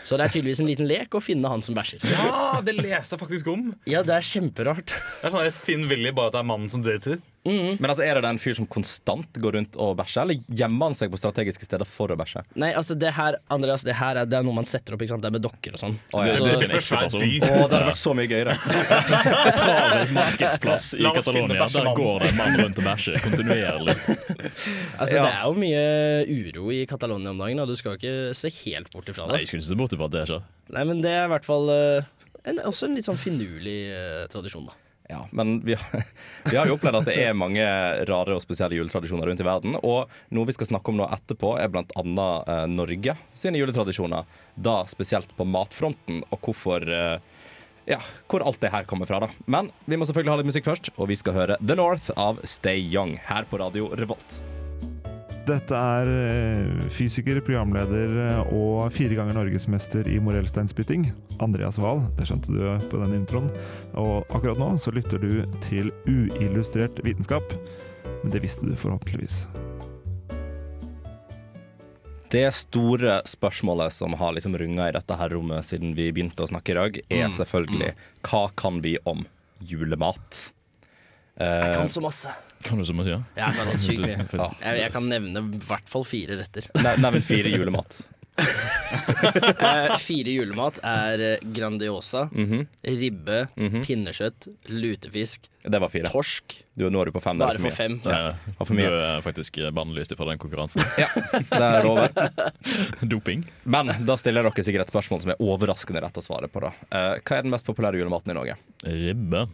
[SPEAKER 7] Så det er tydeligvis en liten lek å finne han som bæsjer.
[SPEAKER 6] [laughs] Ja, det leser jeg faktisk om.
[SPEAKER 7] Ja, det er kjemperart.
[SPEAKER 6] Det er sånn jeg Finn Willy, bare at det er mannen som dater.
[SPEAKER 1] Men altså, er det en fyr som konstant går rundt og bæsjer, eller gjemmer han seg på strategiske steder for å bæsje?
[SPEAKER 7] Nei, altså, det her, Andreas, det her er, det er noe man setter opp, ikke sant? Det er med dokker og sånn.
[SPEAKER 1] Å, ja.
[SPEAKER 7] Så-
[SPEAKER 3] Det er
[SPEAKER 6] Det
[SPEAKER 3] ikke en
[SPEAKER 6] er
[SPEAKER 3] ekte
[SPEAKER 6] svær
[SPEAKER 1] Å,
[SPEAKER 3] person.
[SPEAKER 6] by.
[SPEAKER 1] det hadde vært så mye gøyere.
[SPEAKER 3] Travel [laughs] markedsplass i
[SPEAKER 6] La oss finne
[SPEAKER 3] Catalonia. Der
[SPEAKER 6] bæsjemannen.
[SPEAKER 3] går det en mann rundt og bæsjer kontinuerlig.
[SPEAKER 7] [laughs] Altså,
[SPEAKER 1] Ja.
[SPEAKER 7] Det er jo mye uro i Catalonia om dagen, og du skal jo ikke se helt bort ifra
[SPEAKER 3] Nei,
[SPEAKER 7] det.
[SPEAKER 3] jeg skulle ikke se bort ifra at det skjer.
[SPEAKER 7] Nei, Men det er i hvert fall eh, en, også en litt sånn finurlig eh, tradisjon, da.
[SPEAKER 1] Ja, men vi har, [laughs] vi har jo opplevd at det er mange rare og spesielle juletradisjoner rundt i verden. Og noe vi skal snakke om nå etterpå, er bl.a. Eh, Norge sine juletradisjoner. Da spesielt på matfronten, og hvorfor eh, Ja, hvor alt det her kommer fra, da. Men vi må selvfølgelig ha litt musikk først, og vi skal høre The North av Stay Young her på Radio Revolt.
[SPEAKER 9] Dette er eh, fysiker, programleder eh, og fire ganger norgesmester i morellsteinspytting, Andreas Wahl. Det skjønte du på den introen. Og akkurat nå så lytter du til uillustrert vitenskap. Men det visste du forhåpentligvis.
[SPEAKER 1] Det store spørsmålet som har liksom runga i dette her rommet siden vi begynte å snakke i dag, er selvfølgelig hva kan vi om julemat?
[SPEAKER 7] Jeg
[SPEAKER 1] Eh,
[SPEAKER 7] kan så masse.
[SPEAKER 3] Kan du så mye si?
[SPEAKER 7] Jeg kan helt
[SPEAKER 1] [laughs]
[SPEAKER 7] sykt mye.
[SPEAKER 3] Ja.
[SPEAKER 7] Jeg, jeg kan nevne i hvert fall fire retter.
[SPEAKER 1] ne- Nevn fire julemat.
[SPEAKER 7] Eh, fire julemat er eh, Grandiosa,
[SPEAKER 1] Mhm,
[SPEAKER 7] ribbe,
[SPEAKER 1] mhm.
[SPEAKER 7] pinnekjøtt, lutefisk,
[SPEAKER 1] Det var fire.
[SPEAKER 7] torsk.
[SPEAKER 1] Du, nå er du på fem. Det
[SPEAKER 7] Bare
[SPEAKER 1] er for
[SPEAKER 7] for
[SPEAKER 1] mye.
[SPEAKER 7] fem.
[SPEAKER 3] Ja.
[SPEAKER 1] Det er
[SPEAKER 3] Eh, Du
[SPEAKER 1] for mye.
[SPEAKER 3] er faktisk bannlyst fra
[SPEAKER 1] [laughs]
[SPEAKER 3] den konkurransen.
[SPEAKER 1] Det er over.
[SPEAKER 3] Doping.
[SPEAKER 1] [laughs] Men da stiller dere sikkert et spørsmål som er overraskende rett å svare på. da. Eh, hva er den mest populære julematen i Norge?
[SPEAKER 3] Ribbe.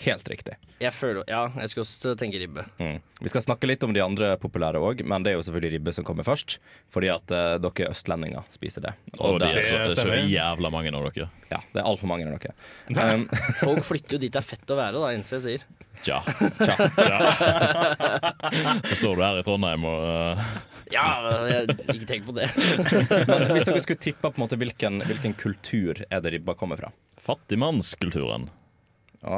[SPEAKER 1] Helt riktig.
[SPEAKER 7] Jeg føler, ja, jeg skulle også tenke ribbe.
[SPEAKER 1] Mm. Vi skal snakke litt om de andre populære òg, men det er jo selvfølgelig ribbe som kommer først. Fordi at eh, dere østlendinger spiser det.
[SPEAKER 3] Og det er
[SPEAKER 6] det
[SPEAKER 3] så, det er så
[SPEAKER 6] stemmer.
[SPEAKER 3] jævla mange av dere.
[SPEAKER 1] Ja, det er altfor mange av dere. Um, [laughs]
[SPEAKER 7] Folk flytter jo dit det er fett å være, da, innser jeg sier.
[SPEAKER 3] Tja. Tja. [laughs] Tja. Så står du her i Trondheim og eh,
[SPEAKER 7] Ja, men jeg ikke tenk på det.
[SPEAKER 1] men hvis dere skulle tippe på en måte hvilken, hvilken kultur er det ribba kommer fra?
[SPEAKER 3] Fattigmannskulturen.
[SPEAKER 6] Jeg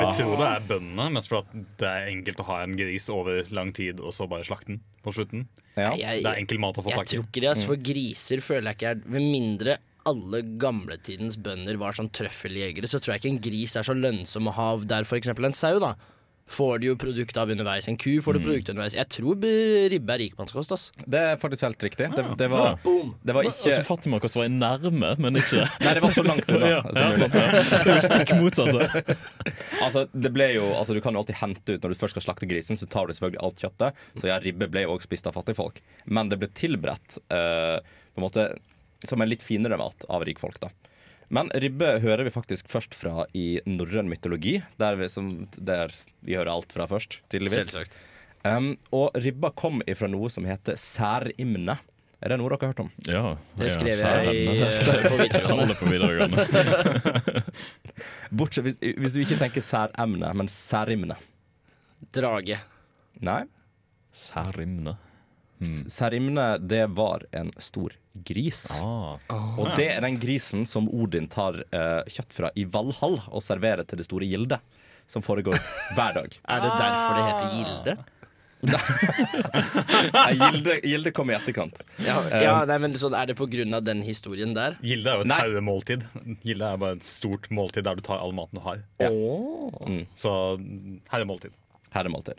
[SPEAKER 6] vil tro det er bøndene, mest for at det er enkelt å ha en gris over lang tid, og så bare slakte den på slutten.
[SPEAKER 1] Ja.
[SPEAKER 7] Jeg,
[SPEAKER 6] Det er
[SPEAKER 7] jeg,
[SPEAKER 6] enkel mat å få
[SPEAKER 7] jeg
[SPEAKER 6] tak i.
[SPEAKER 7] tror ikke det, altså, for griser føler jeg ikke er Med mindre alle gamletidens bønder var sånn trøffeljegere, så tror jeg ikke en gris er så lønnsom å ha der f.eks. en sau, da. Får du jo produkt av underveis. En ku får du produkt underveis. Jeg tror b- ribbe er rikmannskost, ass.
[SPEAKER 1] Det er faktisk helt riktig. Det, det, var,
[SPEAKER 7] Boom!
[SPEAKER 1] det var
[SPEAKER 3] Ikke...
[SPEAKER 1] ikke
[SPEAKER 3] Altså, Fattigmannskultur var jeg nærme, men ikke
[SPEAKER 1] Nei, det var så langt unna.
[SPEAKER 3] Ja,
[SPEAKER 1] som
[SPEAKER 3] ja,
[SPEAKER 1] mulig.
[SPEAKER 3] sant, ja. Det er jo stikk motsatt.
[SPEAKER 1] Altså, det ble jo, altså, du kan jo alltid hente ut Når du først skal slakte grisen, så tar du selvfølgelig alt kjøttet. Så ja, ribbe ble jo også spist av fattigfolk. Men det ble tilberedt eh, på en måte som en litt finere mat av rikfolk, da. Men ribbe hører vi faktisk først fra i norrøn mytologi, der vi, som, der vi hører alt fra først, tydeligvis.
[SPEAKER 7] Selvsagt.
[SPEAKER 1] Um, og ribba kom ifra noe som heter særimne. Er det noe dere har hørt om?
[SPEAKER 3] [laughs] Ja,
[SPEAKER 7] Det
[SPEAKER 3] ja,
[SPEAKER 7] skrev
[SPEAKER 3] særen. [laughs]
[SPEAKER 7] jeg i, eh, på videregående.
[SPEAKER 3] Alle på videregående.
[SPEAKER 1] Bortsett hvis, hvis du ikke tenker særemne, men særimne.
[SPEAKER 7] Drage.
[SPEAKER 1] Nei.
[SPEAKER 3] Særimne.
[SPEAKER 1] S- Særimne, det var en stor gris.
[SPEAKER 3] Ah.
[SPEAKER 1] Og det er den grisen som Odin tar eh, kjøtt fra i Valhall og serverer til det store gilde. Som foregår hver dag.
[SPEAKER 7] Er det derfor det heter gilde?
[SPEAKER 1] Nei, gilde, gilde kom i etterkant.
[SPEAKER 7] Ja, ja nei, men sånn, Er det på grunn av den historien der?
[SPEAKER 6] Gilde er jo et
[SPEAKER 1] Nei.
[SPEAKER 6] haugemåltid. Gilde er bare et stort måltid der du tar all maten du har. Så haugemåltid.
[SPEAKER 1] Herremåltid.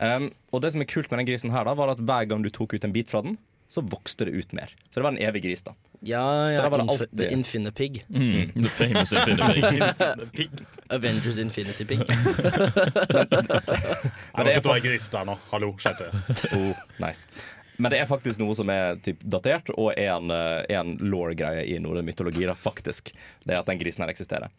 [SPEAKER 1] Um, og det som er kult med den grisen her, da, var at hver gang du tok ut en bit fra den, så vokste det ut mer. Så det var en evig gris, da.
[SPEAKER 7] Ja,
[SPEAKER 1] Så
[SPEAKER 7] ja.
[SPEAKER 1] da var det
[SPEAKER 7] Inf
[SPEAKER 1] alltid-
[SPEAKER 7] the Infinite Pig.
[SPEAKER 3] Mm. [laughs] The famous infinity.
[SPEAKER 7] Avengers Infinity Pig.
[SPEAKER 6] Men
[SPEAKER 1] det
[SPEAKER 6] det
[SPEAKER 1] er
[SPEAKER 6] er for... gris der nå. Hallo, skjerp dere.
[SPEAKER 1] Oh, nice. Men det er faktisk noe som er typ, datert, og er en, eh, en lore-greie i norrøn mytologi. Da, faktisk. Det er at den grisen her eksisterer.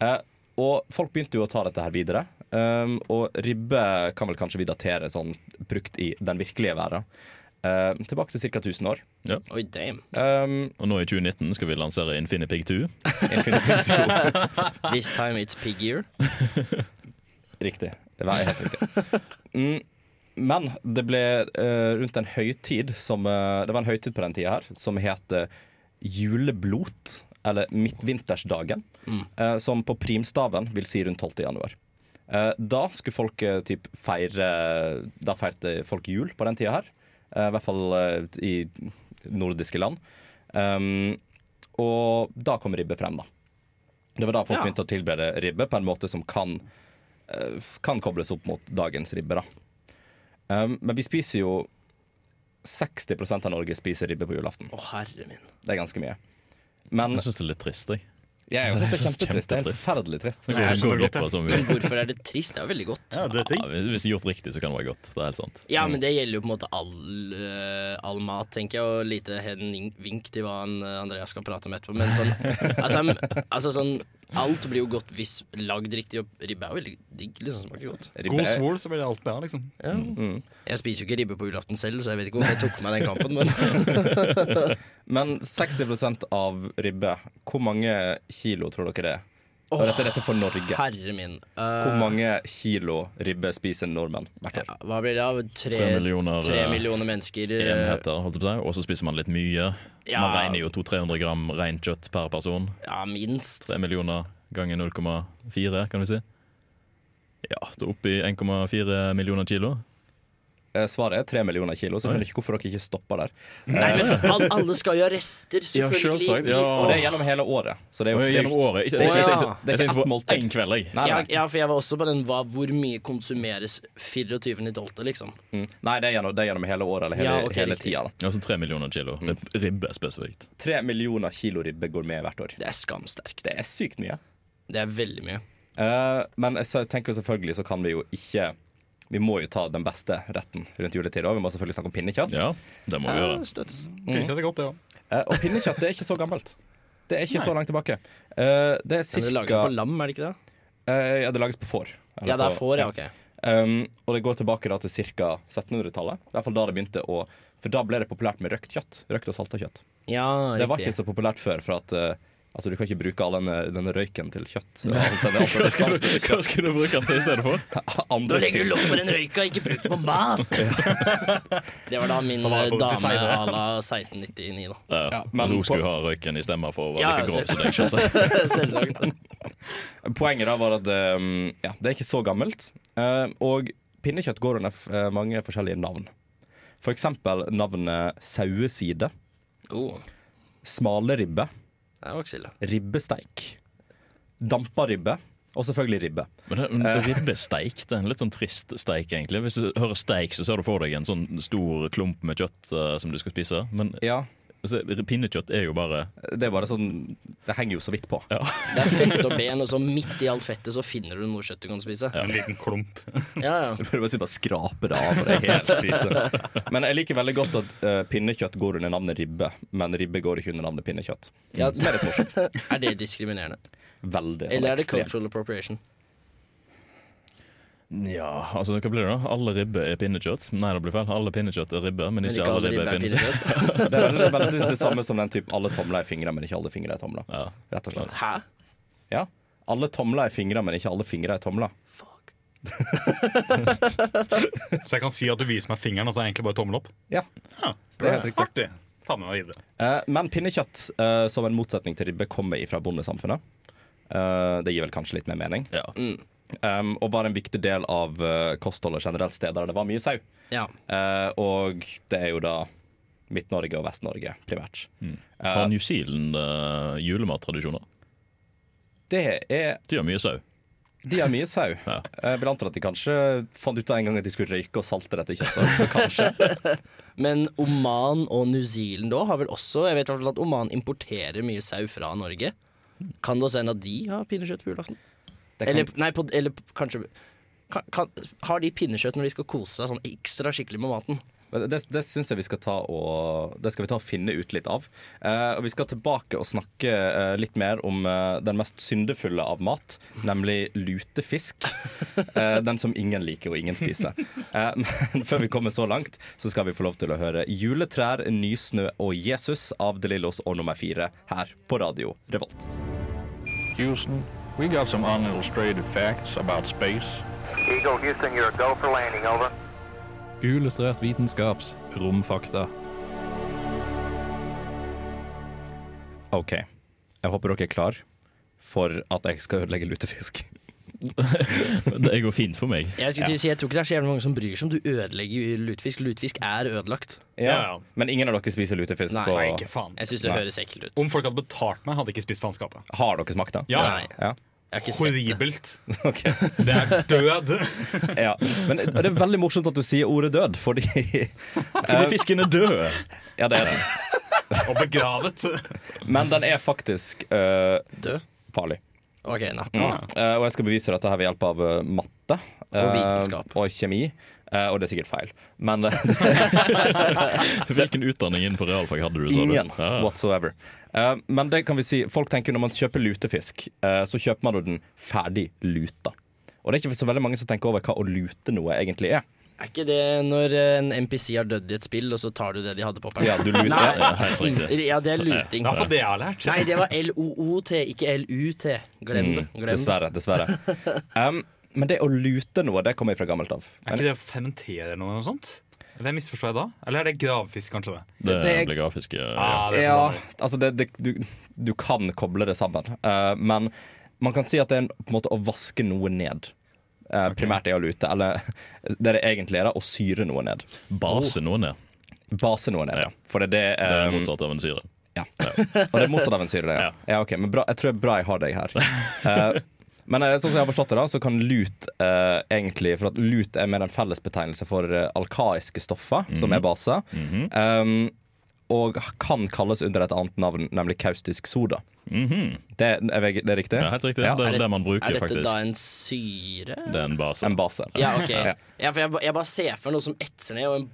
[SPEAKER 1] Eh, og folk begynte jo å ta dette her videre. Um, og ribbe kan vel kanskje vi datere sånn brukt i den virkelige verden. Eh, tilbake til ca. 1000 år.
[SPEAKER 7] Oi, damn.
[SPEAKER 1] Um,
[SPEAKER 3] Og nå i 2019 skal vi lansere Infinipig 2.
[SPEAKER 1] Infinity
[SPEAKER 7] This time it's pig year.
[SPEAKER 1] Riktig. Det var helt riktig. Mm. Men det ble eh, rundt en høytid som eh, Det var en høytid på den tida her som het eh, juleblot, eller midtvintersdagen, eh, som på primstaven vil si rundt 12. januar. Eh, da skulle folk eh, typ feire eh, Da feirte folk jul på den tida her. Eh, I hvert fall eh, i nordiske land. Um, og da kom ribbe frem, da. Det var da folk
[SPEAKER 7] Ja.
[SPEAKER 1] begynte å tilberede ribbe på en måte som kan eh, kan kobles opp mot dagens ribbe. Da. Um, men vi spiser jo 60 av Norge spiser ribbe på julaften.
[SPEAKER 7] Å, herre min.
[SPEAKER 1] Det er ganske mye. Men
[SPEAKER 3] Jeg syns det er litt trist. jeg.
[SPEAKER 1] jeg er jo
[SPEAKER 3] jeg
[SPEAKER 1] det er
[SPEAKER 3] synes
[SPEAKER 1] kjempetrist. Det er helt
[SPEAKER 3] kjempetrist.
[SPEAKER 1] forferdelig trist.
[SPEAKER 3] Det
[SPEAKER 6] Nei,
[SPEAKER 3] går
[SPEAKER 6] jeg
[SPEAKER 3] går
[SPEAKER 6] skjønner
[SPEAKER 3] litt
[SPEAKER 6] godt,
[SPEAKER 3] bra
[SPEAKER 6] jeg.
[SPEAKER 3] som vi-
[SPEAKER 7] Men hvorfor er det trist? Det er veldig godt.
[SPEAKER 6] Ja, det er
[SPEAKER 3] ja,
[SPEAKER 6] ting.
[SPEAKER 3] Hvis det er gjort riktig, så kan det være godt. Det er helt sant.
[SPEAKER 7] Ja, men det gjelder jo på en måte all, eh, all mat, tenker jeg, og lite hen- vink til hva han, eh, Andreas skal prate om etterpå. Men
[SPEAKER 3] [laughs]
[SPEAKER 7] sånn, altså, mm, altså sånn Alt blir jo godt hvis lagd riktig, og ribbe er jo veldig digg. Liksom, smaker godt.
[SPEAKER 1] Ribbe
[SPEAKER 6] God
[SPEAKER 1] er,
[SPEAKER 6] svol, så blir det alt bedre, liksom.
[SPEAKER 7] Jeg spiser jo ikke ribbe på julaften selv, så jeg vet ikke hvorfor jeg tok meg den kampen, men
[SPEAKER 3] [laughs]
[SPEAKER 1] men 60 av ribbe, hvor mange kilo tror dere det er Og dette er dette for Norge.
[SPEAKER 7] Herre min. Eh,
[SPEAKER 1] Hvor mange kilo ribbe spiser nordmenn hvert år?
[SPEAKER 7] hva blir det av? Tre,
[SPEAKER 3] Tre millioner,
[SPEAKER 7] tre
[SPEAKER 3] eh,
[SPEAKER 7] millioner mennesker. eh,
[SPEAKER 3] enheter, holdt jeg på å si. Og så spiser man litt mye.
[SPEAKER 7] Ja.
[SPEAKER 3] Man regner jo 200-300 gram rent kjøtt per person.
[SPEAKER 7] Ja, minst.
[SPEAKER 3] 3 millioner ganger 0,4, kan vi si. Ja, det er oppe i 1,4 millioner kilo.
[SPEAKER 1] Eh, Svaret er tre millioner kilo, så jeg skjønner ikke hvorfor dere ikke stopper der.
[SPEAKER 7] Nei, men al- alle skal jo ha rester,
[SPEAKER 3] Ja,
[SPEAKER 7] selvfølgelig.
[SPEAKER 3] selvsagt, ja.
[SPEAKER 1] Og det er gjennom hele året. Så det er
[SPEAKER 3] Og
[SPEAKER 1] jo
[SPEAKER 3] gjennom året. Ikke, jeg,
[SPEAKER 7] Å,
[SPEAKER 3] jeg,
[SPEAKER 7] ja.
[SPEAKER 1] Det er
[SPEAKER 3] tenkte, jeg
[SPEAKER 1] ikke
[SPEAKER 3] tenkte
[SPEAKER 1] ett
[SPEAKER 3] på
[SPEAKER 1] måltid.
[SPEAKER 3] én kveld, jeg.
[SPEAKER 1] Nei,
[SPEAKER 7] Ja,
[SPEAKER 1] nei.
[SPEAKER 7] ja, for jeg var også på den hva, hvor mye konsumeres 24.12., liksom.
[SPEAKER 1] Mm. nei det, er gjennom, det er gjennom hele året eller hele,
[SPEAKER 7] Ja, ok,
[SPEAKER 1] hele
[SPEAKER 7] riktig.
[SPEAKER 1] tida. da.
[SPEAKER 3] Ja, så 3 millioner
[SPEAKER 1] Mm.
[SPEAKER 3] kilo. Det er ribbe spesifikt.
[SPEAKER 1] Tre millioner kilo ribbe går med hvert år.
[SPEAKER 7] Det er skamsterkt.
[SPEAKER 1] Det er sykt mye.
[SPEAKER 7] Det er veldig mye.
[SPEAKER 1] Eh, men jeg sa- tenker jo selvfølgelig så kan vi jo ikke Vi må jo ta den beste retten rundt juletid òg. Vi må selvfølgelig snakke om pinnekjøtt.
[SPEAKER 3] Ja, det må vi gjøre.
[SPEAKER 6] Kunne ikke det godt, det òg.
[SPEAKER 1] Eh, og pinnekjøtt det er ikke så gammelt. Det er ikke så langt tilbake. Eh, det er
[SPEAKER 7] Men det
[SPEAKER 1] cirka,
[SPEAKER 7] lages på lam, er det ikke det?
[SPEAKER 1] Eh, ja, det lages på får. Eller
[SPEAKER 7] Ja, det
[SPEAKER 1] på-
[SPEAKER 7] er får, ja. ok
[SPEAKER 1] Um, og det går tilbake da til ca. 1700-tallet. I hvert fall da det begynte å For da ble det populært med røkt kjøtt. Røkt og salta kjøtt.
[SPEAKER 7] Ja,
[SPEAKER 1] Det var ikke
[SPEAKER 7] riktig.
[SPEAKER 1] så populært før, for at eh, Altså, du kan ikke bruke all denne, denne røyken til kjøtt. Alt denne
[SPEAKER 7] [laughs]
[SPEAKER 3] Hva skal du, hva skal du bruke den til i stedet for?
[SPEAKER 7] Nå
[SPEAKER 1] andre
[SPEAKER 7] legger
[SPEAKER 1] ting.
[SPEAKER 7] du lokk for en røyka, ikke bruk det på mat! [laughs] det var da min
[SPEAKER 6] Da var det
[SPEAKER 7] eh,
[SPEAKER 6] på
[SPEAKER 7] dame
[SPEAKER 6] design, det.
[SPEAKER 7] à la 1699, da.
[SPEAKER 3] Ja,
[SPEAKER 1] men
[SPEAKER 3] men hun
[SPEAKER 1] på-
[SPEAKER 3] skulle ha røyken i stemma for å være
[SPEAKER 7] Ja,
[SPEAKER 3] like grov
[SPEAKER 7] selv-
[SPEAKER 3] som deg. selvsagt.
[SPEAKER 7] [laughs] Selvsagt.
[SPEAKER 1] Poenget da var at um, ja, det er ikke så gammelt. Eh, og pinnekjøtt går under f eh, mange forskjellige navn. For eksempel navnet saueside,
[SPEAKER 7] Oh,
[SPEAKER 1] smaleribbe,
[SPEAKER 7] det var ikke så ille.
[SPEAKER 1] ribbesteik, damparibbe og selvfølgelig ribbe.
[SPEAKER 3] Men det- men ribbesteik det er en litt sånn trist steik, egentlig. Hvis du hører steik, så ser du for deg en sånn stor klump med kjøtt eh, som du skal spise. Men
[SPEAKER 1] Ja,
[SPEAKER 3] altså, pinnekjøtt er jo bare
[SPEAKER 1] det er bare sånn Det henger jo så vidt på.
[SPEAKER 7] Det er fett og ben, og så midt i alt fettet så finner du noe kjøtt du kan spise.
[SPEAKER 6] En liten klump.
[SPEAKER 7] Ja, ja.
[SPEAKER 1] Du prøver å si bare skrape det av. og Det er helt krise. Men jeg liker veldig godt at eh, pinnekjøtt går under navnet ribbe, men ribbe går ikke under navnet pinnekjøtt.
[SPEAKER 7] Ja.
[SPEAKER 1] Som er litt morsomt.
[SPEAKER 7] Er det diskriminerende?
[SPEAKER 1] Veldig. sånn
[SPEAKER 7] Eller er det
[SPEAKER 1] ekstremt.
[SPEAKER 7] cultural appropriation?
[SPEAKER 3] Ja, altså hva blir det da? Alle ribbe er pinnekjøtt? Nei, det blir feil. Alle pinnekjøtt er ribbe, men
[SPEAKER 7] Men
[SPEAKER 3] ikke
[SPEAKER 7] ikke
[SPEAKER 3] alle
[SPEAKER 7] alle
[SPEAKER 3] ribbe er
[SPEAKER 7] ribber er
[SPEAKER 3] pinnekjøtt.
[SPEAKER 7] pinnekjøtt?
[SPEAKER 1] Det er veldig, veldig det samme som den type alle tomler er fingre, men ikke alle fingre er tomler.
[SPEAKER 3] Ja.
[SPEAKER 1] Rett og slett.
[SPEAKER 7] [laughs] Hæ?
[SPEAKER 1] Ja. Alle tomler er fingre, men ikke alle fingre er tomler.
[SPEAKER 6] Så jeg kan si at du viser meg fingeren, og så er det egentlig bare tommel opp.
[SPEAKER 1] Ja.
[SPEAKER 6] Det er helt riktig. Artig. Ta med meg videre.
[SPEAKER 1] Eh, men pinnekjøtt, eh, som en motsetning til ribbe, kommer ifra bondesamfunnet. Eh, det gir vel kanskje litt mer mening.
[SPEAKER 3] Ja.
[SPEAKER 1] Um, og var en viktig del av eh, kostholdet generelt steder der det var mye sau.
[SPEAKER 7] Ja.
[SPEAKER 1] Eh, og det er jo da Midt-Norge og Vest-Norge primært.
[SPEAKER 3] Har New Zealand uh, julemattradisjoner?
[SPEAKER 1] Det er
[SPEAKER 3] De har mye sau.
[SPEAKER 6] Eh,
[SPEAKER 1] De har mye sau.
[SPEAKER 3] [laughs]
[SPEAKER 1] Eh,
[SPEAKER 3] Ja.
[SPEAKER 1] Jeg vil anta at de kanskje fant ut av en gang at de skulle røyke og salte dette kjøttet. Så kanskje
[SPEAKER 7] Men Oman og New Zealand da har vel også Jeg vet i hvert fall at Oman importerer mye sau fra Norge. Kan det også hende at de har pinnekjøtt på julaften?
[SPEAKER 1] det kan,
[SPEAKER 7] Eller, nei, på, eller på- kanskje kan, kan, Har de pinnekjøtt når de skal kose seg sånn ekstra skikkelig med maten?
[SPEAKER 1] Men Det, det syns jeg vi skal ta og Det skal vi ta og finne ut litt av. Eh, og vi skal tilbake og snakke eh, litt mer om eh, den mest syndefulle av mat, nemlig lutefisk. Eh, den som ingen liker og ingen spiser. Eh, men før vi kommer så langt, så skal vi få lov til å høre 'Juletrær, nysnø og Jesus' av De Lillos og nummer fire her på Radio Revolt.
[SPEAKER 10] Houston, we got some unillustrated facts about space.
[SPEAKER 5] Eagle Houston, you're go for landing, over.
[SPEAKER 2] Uillustrert vitenskaps romfakta.
[SPEAKER 1] OK. Jeg håper dere er klar for at jeg skal ødelegge lutefisk.
[SPEAKER 3] [laughs] Det går fint for meg.
[SPEAKER 7] Jeg, skulle til å si, jeg tror ikke det er så jævlig mange som bryr seg om du ødelegger jo lutefisk. Lutefisk er ødelagt.
[SPEAKER 6] Ja, ja.
[SPEAKER 1] Men ingen av dere spiser lutefisk?
[SPEAKER 7] Nei,
[SPEAKER 1] på...
[SPEAKER 6] Nei, ikke faen.
[SPEAKER 7] Jeg syns det
[SPEAKER 1] Nei.
[SPEAKER 7] høres ekkelt ut.
[SPEAKER 6] Om folk hadde betalt meg, hadde jeg ikke spist faenskapet.
[SPEAKER 1] Har dere smakt det?
[SPEAKER 6] Ja,
[SPEAKER 7] Nei.
[SPEAKER 1] Ja.
[SPEAKER 7] Jeg har ikke sett det.
[SPEAKER 6] Horribelt.
[SPEAKER 1] Ok.
[SPEAKER 6] Det er død.
[SPEAKER 1] Ja. Men det er veldig morsomt at du sier ordet død, fordi [laughs]
[SPEAKER 3] Fordi fisken er død!
[SPEAKER 1] Ja, det er den.
[SPEAKER 6] [laughs] Og begravet.
[SPEAKER 1] Men den er faktisk øh,
[SPEAKER 7] Død?
[SPEAKER 1] farlig.
[SPEAKER 7] Ok, nei.
[SPEAKER 1] Eh, og jeg skal bevise dette her ved hjelp av øh, matte. eh,
[SPEAKER 7] vitenskap.
[SPEAKER 1] og kjemi. Eh, og det er sikkert feil. Men eh,
[SPEAKER 3] [laughs] Hvilken utdanning innenfor realfag hadde du? sa du?
[SPEAKER 1] ingen
[SPEAKER 3] Ja.
[SPEAKER 1] whatsoever. Eh, men det kan vi si folk tenker når man kjøper lutefisk, eh, så kjøper man jo den ferdig luta. Og det er ikke så veldig mange som tenker over hva å lute noe egentlig er.
[SPEAKER 7] Er ikke det når eh, en NPC har dødd i et spill, og så tar du det de hadde på personen?
[SPEAKER 3] Ja, du luter-
[SPEAKER 7] Nei.
[SPEAKER 3] ja, ja, helt riktig.
[SPEAKER 7] [laughs] Ja, det er luting.
[SPEAKER 6] Ja, for det jeg har lært.
[SPEAKER 7] Nei, det var LOOT, ikke LUT. Glem det.
[SPEAKER 1] Mm,
[SPEAKER 7] Glem det.
[SPEAKER 1] Dessverre.
[SPEAKER 7] [laughs]
[SPEAKER 1] dessverre. Um, men det å lute noe, det kommer jeg fra gammelt av.
[SPEAKER 6] Er ikke det å fermentere noe eller noe sånt? Eller misforstår jeg da? Eller er det gravfisk, kanskje? det?
[SPEAKER 3] Det
[SPEAKER 1] Det-
[SPEAKER 3] blir grafisk. eh,
[SPEAKER 6] Ah, det er
[SPEAKER 1] ja,
[SPEAKER 6] for
[SPEAKER 1] altså det, det, du, du kan koble det sammen, eh, men man kan si at det er en, på en måte å vaske noe ned. Eh, Primært det å lute, eller [laughs] det det egentlig er, da, å syre noe ned.
[SPEAKER 3] Base noe ned.
[SPEAKER 1] Base noe ned, ja. For det er
[SPEAKER 3] Det
[SPEAKER 1] det
[SPEAKER 3] er
[SPEAKER 1] eh,
[SPEAKER 3] motsatt av en syre.
[SPEAKER 1] Ja. Og det er motsatt av en syre, det. Ja. ja, ok, men bra, jeg tror det er bra jeg har deg her. Eh, men eh, sånn som jeg har forstått det, da, så kan lut eh, egentlig For at lut er mer en fellesbetegnelse for eh, alkaiske stoffer, som er base. um, og kan kalles under et annet navn, nemlig kaustisk soda. det, er, veg- det er riktig?
[SPEAKER 3] Det er helt riktig.
[SPEAKER 1] Mhm. Ja.
[SPEAKER 3] Det
[SPEAKER 7] Er
[SPEAKER 3] er
[SPEAKER 7] det-
[SPEAKER 3] det man bruker,
[SPEAKER 7] Er dette da
[SPEAKER 3] faktisk.
[SPEAKER 7] en syre?
[SPEAKER 3] Det er en base.
[SPEAKER 1] En base.
[SPEAKER 7] Ja, ok.
[SPEAKER 1] Ja.
[SPEAKER 7] Ja, for jeg, ba- jeg bare ser for meg noe som etser ned, og en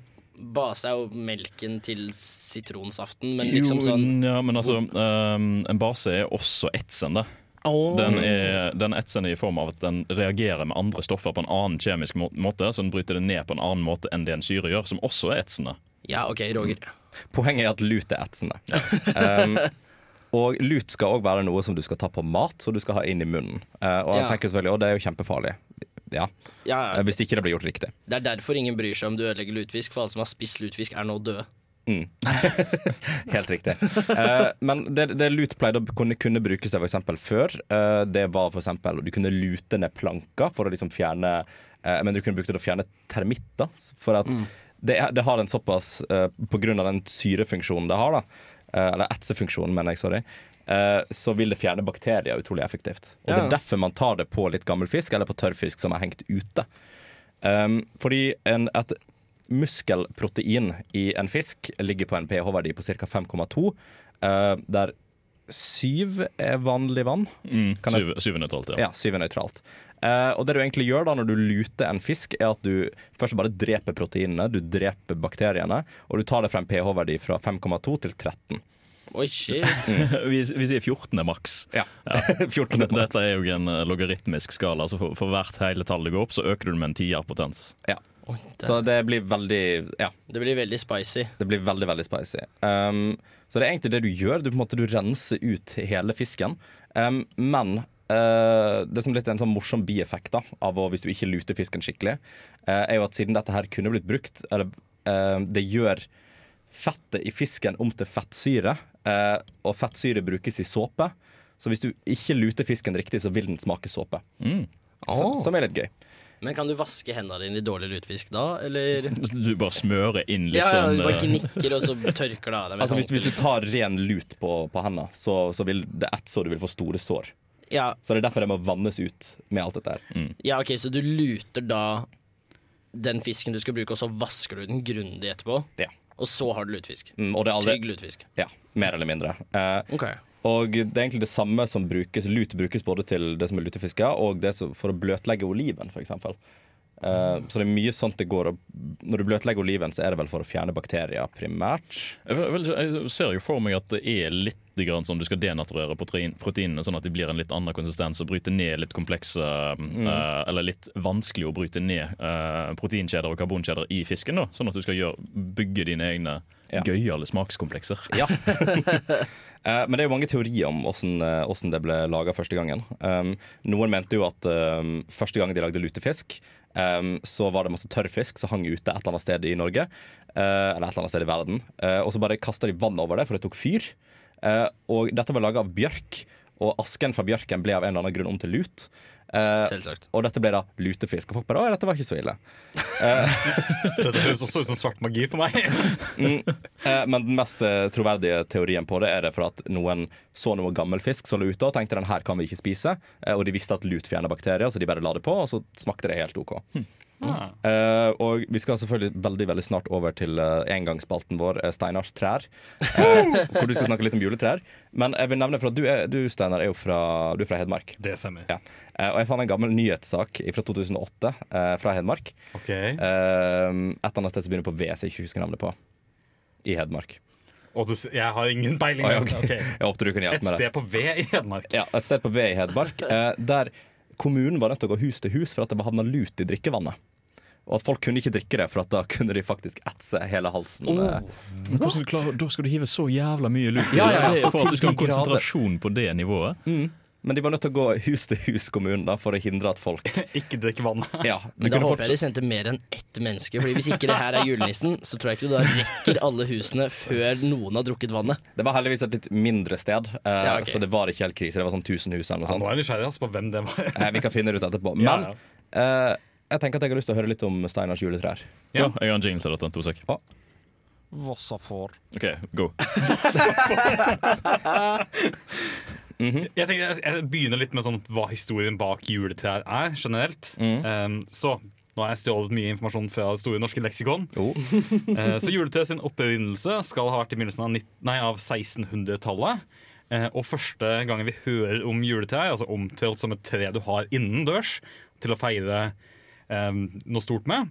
[SPEAKER 7] base er jo melken til sitronsaften, men liksom sånn
[SPEAKER 3] Jo, ja, men altså, ehm, en base er også etsende.
[SPEAKER 7] Åh.
[SPEAKER 3] Den er, den er etsende i form av at den reagerer med andre stoffer på en annen kjemisk må måte, så den bryter det ned på en annen måte enn det en syre gjør, som også er etsende.
[SPEAKER 7] Ja, OK, Roger.
[SPEAKER 1] Poenget er at lut er etsende. um, og lut skal òg være noe som du skal ta på mat, så du skal ha inn i munnen. Eh, og jeg
[SPEAKER 7] Ja.
[SPEAKER 1] tenker selvfølgelig, og det er jo kjempefarlig. Ja.
[SPEAKER 7] Ja,
[SPEAKER 1] Eh, Hvis ikke det blir gjort riktig.
[SPEAKER 7] det er derfor ingen bryr seg om du ødelegger lutefisk, for alle som har spist lutefisk, er nå døde.
[SPEAKER 1] Helt riktig. Eh, men det, det lut pleide å kunne, kunne brukes til for eksempel før. eh, det var for eksempel, Du kunne lute ned planker for å liksom fjerne eh, Men du kunne brukt det til å fjerne termitter. For at det, er- det har en såpass eh, På grunn av den syrefunksjonen det har, da, eh, eller etsefunksjonen, mener jeg, sorry, eh, så vil det fjerne bakterier utrolig effektivt. Og det
[SPEAKER 7] Ja.
[SPEAKER 1] er derfor man tar det på litt gammel fisk, eller på tørrfisk som er hengt ute. Um, fordi en, et muskelprotein i en fisk ligger på en pH-verdi på ca. 5,2, eh, der 7 er vanlig vann. Kan jeg-
[SPEAKER 3] Syv- Syvende talt,
[SPEAKER 7] [laughs]
[SPEAKER 3] ja.
[SPEAKER 1] Ja, 7 er nøytralt. Eh, og det du egentlig gjør da når du luter en fisk, er at du først bare dreper proteinene, du dreper bakteriene, og du tar det fra en pH-verdi fra 5,2 til 13.
[SPEAKER 7] Oi, shit.
[SPEAKER 3] Vi, vi sier 14 er maks.
[SPEAKER 1] [laughs] Ja.
[SPEAKER 3] D-
[SPEAKER 1] 14 er maks.
[SPEAKER 3] [laughs] Dette er jo en eh, logaritmisk skala, så for, for hvert hele tall det går opp, så øker du det med en tier potens.
[SPEAKER 1] Ja. Så det blir veldig Ja.
[SPEAKER 7] Det blir veldig spicy.
[SPEAKER 1] Det blir veldig, veldig spicy. Um, så det er egentlig det du gjør. Du, på en måte, du renser ut hele fisken. Um, men uh, det som litt er en sånn morsom bieffekt da, av å, hvis du ikke luter fisken skikkelig, uh, er jo at siden dette her kunne blitt brukt, eller uh, det gjør fettet i fisken om til fettsyre, uh, og fettsyre brukes i såpe. Så hvis du ikke luter fisken riktig, så vil den smake såpe. Så, som er litt gøy.
[SPEAKER 7] Men kan du vaske hendene dine i dårlig lutefisk da, eller
[SPEAKER 3] Du bare smører inn litt
[SPEAKER 7] Ja, ja,
[SPEAKER 3] sånn
[SPEAKER 7] du
[SPEAKER 3] eh,
[SPEAKER 7] bare gnikker, og så tørker det av deg. med
[SPEAKER 1] Altså, hvis,
[SPEAKER 7] håndkle.
[SPEAKER 1] hvis du tar ren lut på, på hendene, så, så vil det etse, og du vil få store sår.
[SPEAKER 7] ja,
[SPEAKER 1] Så det er derfor det må vannes ut med alt dette her.
[SPEAKER 7] ja, OK, så du luter da den fisken du skal bruke, og så vasker du den grundig etterpå,
[SPEAKER 1] Ja.
[SPEAKER 7] og så har du lutefisk.
[SPEAKER 1] Mm, og det er aldri,
[SPEAKER 7] Trygg lutefisk.
[SPEAKER 1] ja, mer eller mindre. Eh,
[SPEAKER 7] Ok.
[SPEAKER 1] og det er egentlig det samme som brukes. Lut brukes både til det som er lutefiske, og det som, for å bløtlegge oliven, f.eks. Uh, så det er mye sånt det går og Når du bløtlegger oliven, så er det vel for å fjerne bakterier, primært.
[SPEAKER 3] Jeg, vil- vil- jeg ser jo for meg at det er litt grann sånn du skal denaturere protein, proteinene, sånn at de blir en litt annen konsistens og bryte ned litt komplekse eh, Eller litt vanskelig å bryte ned eh, proteinkjeder og karbonkjeder i fisken. da Sånn at du skal gjøre, bygge dine egne
[SPEAKER 1] Ja.
[SPEAKER 3] gøyale smakskomplekser.
[SPEAKER 1] Ja. [laughs] Eh, Men det er jo mange teorier om hvordan, eh, hvordan det ble laga første gangen. Um, noen mente jo at um, første gang de lagde lutefisk, um, så var det masse tørrfisk som hang ute et eller annet sted i Norge. eh, eller et eller annet sted i verden. Eh, og så bare kasta de vann over det, for det tok fyr. Eh, og dette var laga av bjørk, og asken fra bjørken ble av en eller annen grunn om til lut. Eh,
[SPEAKER 7] Selvsagt.
[SPEAKER 1] og dette ble da lutefisk. Og folk bare 'Å, dette var ikke så ille'.
[SPEAKER 6] noe. Det høres også ut som svart magi for meg.
[SPEAKER 1] Eh, Men den mest eh, troverdige teorien på det er det for at noen så noe gammel fisk som lå ute og tenkte den her kan vi ikke spise. Eh, Og de visste at lut fjerner bakterier, så de bare la det på, og så smakte det helt OK.
[SPEAKER 6] Ah.
[SPEAKER 1] Eh, og vi skal selvfølgelig veldig veldig snart over til eh, engangsspalten vår, eh, Steinars trær. eh, hvor du skal snakke litt om juletrær. Men jeg vil nevne for at du, er, du Steinar, er jo fra, du er fra Hedmark.
[SPEAKER 6] Det stemmer.
[SPEAKER 1] Ja. Eh, og jeg fant en gammel nyhetssak fra 2008 eh, fra Hedmark.
[SPEAKER 6] Ok.
[SPEAKER 1] Eh, et eller annet sted som begynner på V, som jeg ikke husker navnet på. I Hedmark.
[SPEAKER 6] Og du, s- jeg har ingen peiling.
[SPEAKER 1] Oi,
[SPEAKER 6] men-
[SPEAKER 1] ok.
[SPEAKER 6] ok.
[SPEAKER 1] Jeg håpte du kunne
[SPEAKER 6] Et
[SPEAKER 1] hjelpe med det.
[SPEAKER 6] sted på V i Hedmark.
[SPEAKER 1] Ja, et sted på V i Hedmark, eh, der kommunen var nødt til å gå hus til hus for at det var havna lut i drikkevannet. Og at folk kunne ikke drikke det, for at da kunne de faktisk etse hele halsen. eh.
[SPEAKER 3] Men hvordan du klarer, da skal du hive så jævla mye luft i
[SPEAKER 1] Ja, ja, ja,
[SPEAKER 3] det
[SPEAKER 1] så
[SPEAKER 3] for
[SPEAKER 1] til
[SPEAKER 3] at du skal ha
[SPEAKER 1] de grader.
[SPEAKER 3] konsentrasjon på det nivået.
[SPEAKER 1] Mm. Men de var nødt til å gå hus til hus kommunen da, for å hindre at folk
[SPEAKER 6] [laughs] Ikke drikk vann.
[SPEAKER 1] ja, du
[SPEAKER 7] Men da
[SPEAKER 1] kunne
[SPEAKER 7] håper jeg de
[SPEAKER 1] fortsatt-
[SPEAKER 7] sendte mer enn ett menneske, Fordi hvis ikke det her er julenissen, så tror jeg ikke du da rekker alle husene før noen har drukket vannet.
[SPEAKER 1] Det var heldigvis et litt mindre sted, eh,
[SPEAKER 7] Ja, ok.
[SPEAKER 1] så det var ikke helt krise. Det var sånn 1000 hus eller noe
[SPEAKER 6] Ja, nå
[SPEAKER 1] sånt.
[SPEAKER 6] er jeg nysgjerrig ass, på hvem det var.
[SPEAKER 1] Eh, Vi kan finne det ut etterpå.
[SPEAKER 6] Ja,
[SPEAKER 1] Men eh, jeg tenker at jeg har lyst til å høre litt om Steinars juletrær.
[SPEAKER 3] Ja, jeg har en jingle til dette. To sek.
[SPEAKER 1] Ja.
[SPEAKER 6] Vossafor.
[SPEAKER 3] OK, go.
[SPEAKER 6] Jeg tenker jeg- jeg begynner litt med sånn hva historien bak juletrær er generelt.
[SPEAKER 1] Mm.
[SPEAKER 6] Um, så nå har jeg stjålet mye informasjon fra det store norske leksikon. [laughs]
[SPEAKER 1] Jo.
[SPEAKER 6] Eh, så juletreet sin opprinnelse skal ha vært i begynnelsen av, nitt- nei, av 1600-tallet. Eh, og første gangen vi hører om juletreet, altså omtalt som et tre du har innendørs til å feire eh, noe stort med,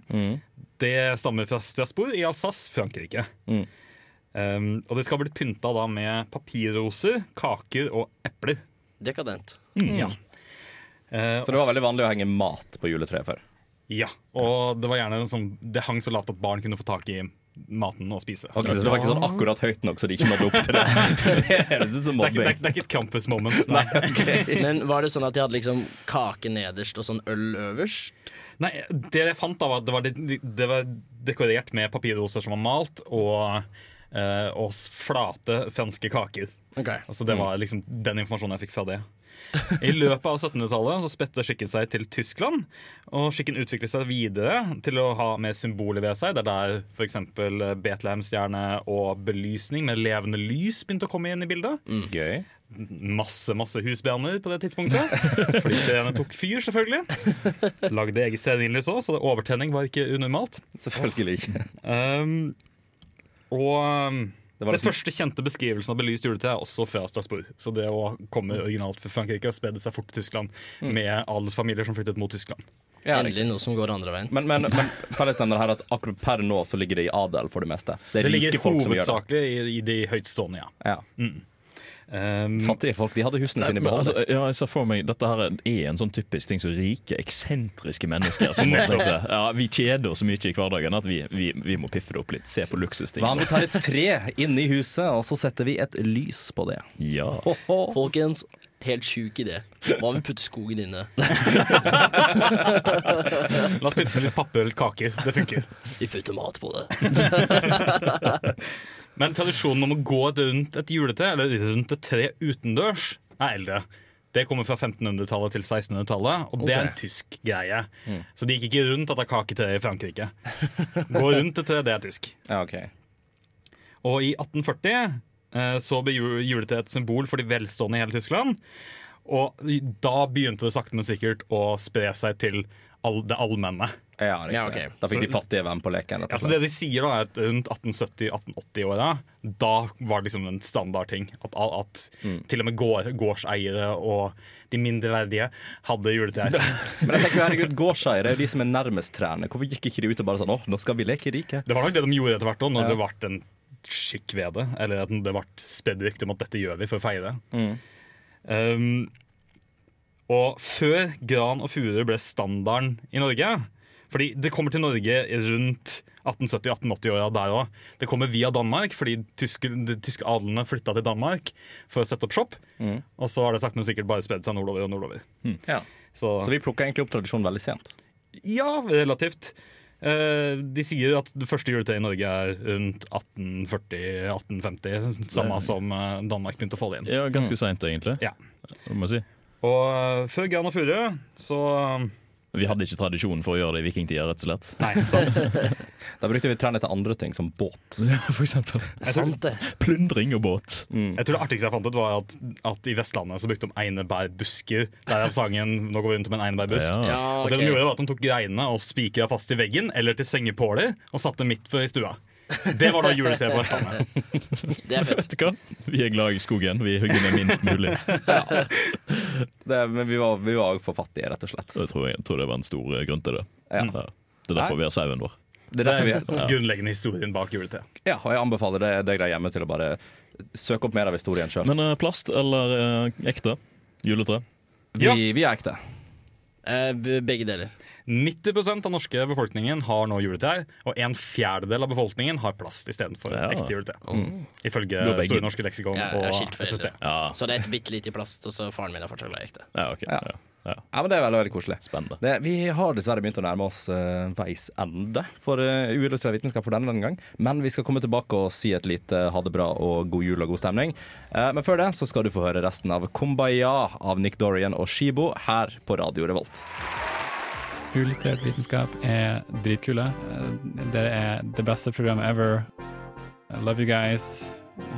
[SPEAKER 6] det stammer fra Strasbourg i Alsace, Frankrike.
[SPEAKER 1] Mm.
[SPEAKER 6] Um, og det skal ha blitt pynta da med papirroser, kaker og epler.
[SPEAKER 7] Dekadent.
[SPEAKER 6] Eh,
[SPEAKER 1] Mm. Så det var veldig vanlig å henge mat på juletreet før.
[SPEAKER 6] Ja, og det var gjerne en sånn, det hang så lavt at barn kunne få tak i maten og spise.
[SPEAKER 1] Ok, Så det var ikke sånn akkurat høyt nok, så de ikke nådde opp til det. [laughs] Det høres ut som
[SPEAKER 6] Det er, ikke, det, er,
[SPEAKER 1] mobbing.
[SPEAKER 6] ikke- det er ikke et campus
[SPEAKER 1] [laughs]
[SPEAKER 6] moment. Nei.
[SPEAKER 7] Men var det sånn at de hadde liksom kake nederst og sånn øl øverst?
[SPEAKER 6] Nei, det jeg fant da var at det var, det, det var dekorert med papirroser som var malt, og, eh, og s- flate franske kaker.
[SPEAKER 7] Ok.
[SPEAKER 6] Altså Det var liksom den informasjonen jeg fikk fra det. I løpet av 1700-tallet så spredte skikken seg til Tyskland, og skikken utviklet seg videre til å ha mer symboler ved seg. Det er der f.eks. Betlehemstjerne og belysning med levende lys begynte å komme inn i bildet.
[SPEAKER 1] Gøy.
[SPEAKER 6] Masse masse husbranner på det tidspunktet, fordi trærne tok fyr, selvfølgelig. Lagde eget stearinlys òg, så det- overtenning var ikke unormalt.
[SPEAKER 1] Selvfølgelig ikke.
[SPEAKER 6] Um, og um,
[SPEAKER 1] Det
[SPEAKER 6] det,
[SPEAKER 1] var liksom-
[SPEAKER 6] første kjente beskrivelsen av belyst juletre er også fra Strasbourg. Så det å komme
[SPEAKER 1] Mm.
[SPEAKER 6] originalt fra Frankrike og spredde seg fort til Tyskland med adelsfamilier som flyttet mot Tyskland.
[SPEAKER 1] Ja, det-
[SPEAKER 7] Endelig noe som går andre veien.
[SPEAKER 1] Men, men, men fellesnevner her er at akkurat per nå så ligger det i adel for det meste. Det er
[SPEAKER 6] Det ligger
[SPEAKER 1] rike folk som gjør det.
[SPEAKER 6] hovedsakelig i, i de høytstående, ja.
[SPEAKER 1] Ja.
[SPEAKER 6] Um,
[SPEAKER 1] Fattige folk de hadde husene sine i
[SPEAKER 3] Men,
[SPEAKER 1] behold.
[SPEAKER 3] altså, ja, jeg ser for meg Dette her er en sånn typisk ting som rike, eksentriske mennesker på en måte tenkte. Ja, Vi kjeder oss så mye i hverdagen at vi, vi, vi må piffe det opp litt. Se på luksusting.
[SPEAKER 1] Hva om vi tar et tre inn i huset, og så setter vi et lys på det?
[SPEAKER 3] Ja.
[SPEAKER 7] Folkens, helt sjuk idé. Hva om vi putter skogen inne?
[SPEAKER 6] la oss pynte med litt papper og litt kaker. Det funker.
[SPEAKER 7] Vi putter mat på det.
[SPEAKER 6] Men tradisjonen om å gå rundt et juletre, eller rundt et tre utendørs, er eldre. Det kommer fra 1500-tallet til 1600-tallet, og det er en
[SPEAKER 7] Ok.
[SPEAKER 6] tysk greie.
[SPEAKER 1] Mm.
[SPEAKER 6] Så de gikk ikke rundt at det er kaketre i Frankrike. Gå rundt et tre, det er tysk.
[SPEAKER 1] Ja, ok.
[SPEAKER 6] Og i 1840 eh, så ble ju- juletreet et symbol for de velstående i hele Tyskland. Og i- da begynte det sakte, men sikkert å spre seg til all, det allmenne.
[SPEAKER 1] Ja, riktig.
[SPEAKER 7] Ja, ok.
[SPEAKER 1] Da fikk de fattige være med på leken. Rett og
[SPEAKER 6] Altså
[SPEAKER 1] slett.
[SPEAKER 6] det de sier da er at Rundt 1870-1880-åra Da var det liksom en standardting. At, all- at til og med gård, gårdseiere og de mindreverdige hadde juletrær.
[SPEAKER 1] Men jeg tenker, jo, herregud, gårdseiere er jo de som er nærmest trærne. Hvorfor gikk ikke de ut og bare sånn Å, nå skal vi leke rike?
[SPEAKER 6] Det var nok det de gjorde etter hvert òg, når
[SPEAKER 1] Ja.
[SPEAKER 6] det ble en skikk ved det. Eller at det ble spredd rykte om at dette gjør vi for å feire. Um, og før gran og furu ble standarden i Norge Fordi det kommer til Norge rundt 1870-1880-åra der òg. Det kommer via Danmark, fordi tyske, de tyske adlene flytta til Danmark for å sette opp shop. Og så har det sakte, men sikkert bare spredd seg nordover og nordover.
[SPEAKER 1] Ja.
[SPEAKER 6] Så,
[SPEAKER 1] Så vi plukka egentlig opp tradisjonen veldig sent.
[SPEAKER 6] ja, relativt. Eh, De sier at det første juletreet i Norge er rundt 1840-1850. Samme som eh, Danmark begynte å falle inn.
[SPEAKER 3] Ja, ganske seint, egentlig.
[SPEAKER 6] Ja.
[SPEAKER 3] Må jeg si.
[SPEAKER 6] Og eh, før gran og furu, så eh,
[SPEAKER 3] Vi hadde ikke tradisjon for å gjøre det i vikingtida, rett og slett.
[SPEAKER 6] Nei, sant.
[SPEAKER 1] Da brukte vi trærne til andre ting, som båt.
[SPEAKER 3] Ja, for eksempel.
[SPEAKER 7] Sant det.
[SPEAKER 3] Plyndring og båt.
[SPEAKER 1] Mm.
[SPEAKER 6] Jeg tror det artigste jeg fant ut, var at, at i Vestlandet så brukte de einebærbusker. Derav sangen 'Nå går vi rundt om en einebærbusk'.
[SPEAKER 3] Ja.
[SPEAKER 7] Ja,
[SPEAKER 6] Og det de
[SPEAKER 7] ok.
[SPEAKER 6] gjorde var at de tok greinene og spikra fast til veggen eller til sengepåler og satte midt for i stua. Det var da juletreet på Vestlandet.
[SPEAKER 7] Det er
[SPEAKER 3] [laughs]
[SPEAKER 7] fett.
[SPEAKER 3] Vet du hva? Vi er glad i skogen. Vi hugger ned minst mulig.
[SPEAKER 1] Det, men vi var vi var jo for fattige, rett og slett.
[SPEAKER 3] Jeg tror, jeg tror det var en stor eh, grunn til det.
[SPEAKER 1] Ja.
[SPEAKER 3] Det er derfor vi har sauen vår.
[SPEAKER 1] Det er derfor vi
[SPEAKER 6] Grunnleggende historien bak juletreet.
[SPEAKER 1] Ja, og jeg anbefaler det- deg der hjemme til å bare søke opp mer av historien sjøl.
[SPEAKER 3] Men eh, plast eller eh, ekte? Juletre?
[SPEAKER 1] Vi, vi er ekte.
[SPEAKER 7] Eh, b- begge deler.
[SPEAKER 6] 90 av norske befolkningen har nå juletrær, og en fjerdedel av befolkningen har plast istedenfor
[SPEAKER 3] Ja.
[SPEAKER 6] ekte juletre.
[SPEAKER 7] Mm.
[SPEAKER 6] Ifølge
[SPEAKER 3] Blåbærgud.
[SPEAKER 6] Store norske leksikon
[SPEAKER 7] Jeg
[SPEAKER 6] og
[SPEAKER 7] er skilt
[SPEAKER 6] SSB.
[SPEAKER 7] foreldre.
[SPEAKER 3] Ja.
[SPEAKER 7] Så det er et bitte lite i plast, og så faren min er fortsatt glad i ekte.
[SPEAKER 3] Ja, ok.
[SPEAKER 1] Ja.
[SPEAKER 3] Ja. Ja.
[SPEAKER 1] Ja, men Det er veldig veldig koselig.
[SPEAKER 3] Spennende.
[SPEAKER 1] Det, vi har dessverre begynt å nærme oss eh, veis ende for uh, uillustrert vitenskap for denne denne gang. Men vi skal komme tilbake og si et lite ha det bra og god jul og god stemning. Eh, men før det så skal du få høre resten av Kumbaya av Nick Dorian og Shibo her på Radio Revolt.
[SPEAKER 11] Illustrert vitenskap er dritkule. Eh, Dere er det beste programmet ever. I love you guys.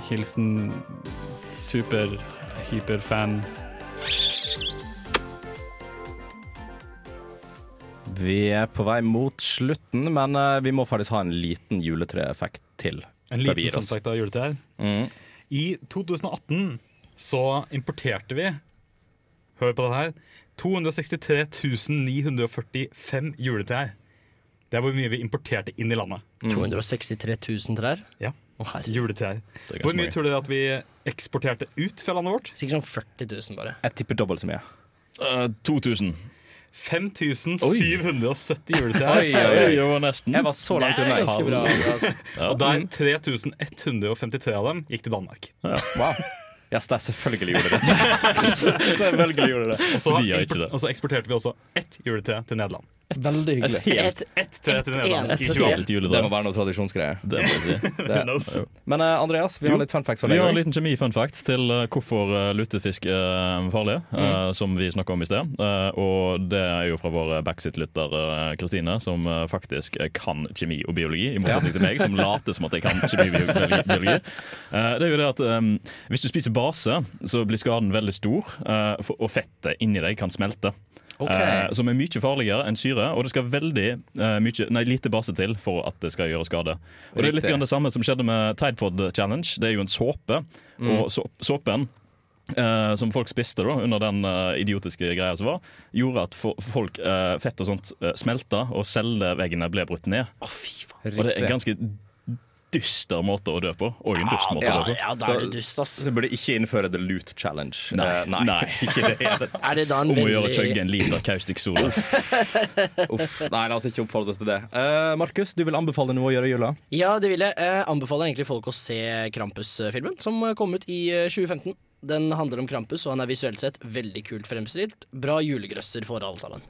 [SPEAKER 11] Hilsen super-hyperfan.
[SPEAKER 1] Vi er på vei mot slutten, men eh, vi må faktisk ha en liten juletreeffekt til.
[SPEAKER 6] En
[SPEAKER 1] før vi
[SPEAKER 6] liten
[SPEAKER 1] gir oss.
[SPEAKER 6] fun-fact av juletrær.
[SPEAKER 1] Mm.
[SPEAKER 6] I 2018 så importerte vi Hør på den her 263 945 juletrær. Det er hvor mye vi importerte inn i landet.
[SPEAKER 7] 263 000 trær?
[SPEAKER 6] Ja.
[SPEAKER 7] Å herregud.
[SPEAKER 6] Juletrær.
[SPEAKER 3] Det er
[SPEAKER 6] Hvor
[SPEAKER 3] ganske
[SPEAKER 6] mye
[SPEAKER 3] mange.
[SPEAKER 6] tror dere at vi eksporterte ut fra landet vårt?
[SPEAKER 7] Sikkert sånn 40 000, bare.
[SPEAKER 1] Jeg tipper dobbelt så mye.
[SPEAKER 3] Eh, 2000.
[SPEAKER 6] 5770
[SPEAKER 1] Oi,
[SPEAKER 6] juletrær.
[SPEAKER 1] oi, oi.
[SPEAKER 3] Det var nesten.
[SPEAKER 1] Jeg var så langt unna.
[SPEAKER 7] Ganske bra. Altså.
[SPEAKER 6] Og der 3153 av dem gikk til Danmark.
[SPEAKER 1] Wow. Yes, det er selvfølgelig [laughs] gjorde det. selvfølgelig gjorde det.
[SPEAKER 6] Og så,
[SPEAKER 3] De gjør ikke det.
[SPEAKER 6] og så eksporterte vi også ett juletre til Nederland.
[SPEAKER 1] Veldig hyggelig.
[SPEAKER 7] Et,
[SPEAKER 6] Ett tre til Nederland i
[SPEAKER 7] eneste
[SPEAKER 6] 2018.
[SPEAKER 3] Dobbelt juletre.
[SPEAKER 1] Det må være noe tradisjonsgreier.
[SPEAKER 3] Det må jeg si.
[SPEAKER 1] [laughs] Det. Men eh, Andreas, vi
[SPEAKER 3] Jo.
[SPEAKER 1] har litt fun facts for
[SPEAKER 3] Vi
[SPEAKER 1] deg.
[SPEAKER 3] har en
[SPEAKER 1] også.
[SPEAKER 3] liten kjemi-funfact til eh, hvorfor eh, lutefisk er farlig,
[SPEAKER 1] Mm.
[SPEAKER 3] eh, som vi snakka om i sted. Eh, Og det er jo fra vår backseat-lytter eh, Kristine, som eh, faktisk eh, kan kjemi og biologi, i motsetning til meg, som later som at jeg
[SPEAKER 1] [laughs]
[SPEAKER 3] kan kjemi og bio- biologi- biologi. Eh, Det er jo det at eh, hvis du spiser base, så blir skaden veldig stor, eh, for- og fettet inni deg kan smelte. Eh, Som er mye farligere enn syre, og det skal veldig eh, mye, nei, lite base til for at det skal gjøre skade. Og Det er litt
[SPEAKER 1] Riktig.
[SPEAKER 3] grann det samme som skjedde med Tide Pod Challenge. Det er jo en såpe, og så, såpen eh, som folk spiste da, under den eh, idiotiske greia som var, gjorde at fo folk, eh, fett og sånt eh, smelta, og celleveggene ble brutt ned. Og det er en
[SPEAKER 1] Riktig.
[SPEAKER 3] ganske dyster måte å dø på. Og en dust måte
[SPEAKER 7] ja,
[SPEAKER 3] å dø på.
[SPEAKER 7] ja, da er det dust, ass.
[SPEAKER 1] Så burde ikke innføre The Loot Challenge.
[SPEAKER 3] Nei,
[SPEAKER 1] Eh, [laughs]
[SPEAKER 3] nei. ikke det.
[SPEAKER 7] Er det da en
[SPEAKER 3] Om å gjøre å
[SPEAKER 7] veldig
[SPEAKER 3] chugge en liter caustic soda.
[SPEAKER 1] Uff. Nei, la oss ikke oppfordre oss til det. Eh, Markus, du vil anbefale noe å gjøre i jula?
[SPEAKER 7] Ja, det vil jeg. Eh, anbefaler egentlig folk å se Krampus-filmen, som kom ut i eh, 2015. Den handler om Krampus, og han er visuelt sett veldig kult fremstilt. Bra julegrøsser for alle sammen.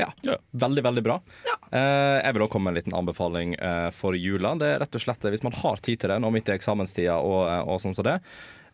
[SPEAKER 1] Ja.
[SPEAKER 3] Ja.
[SPEAKER 1] Veldig, veldig bra. Eh, jeg vil også komme med en liten anbefaling eh, for jula. Det er rett og slett eh, Hvis man har tid til det nå midt i eksamenstida og, eh, og sånn som det.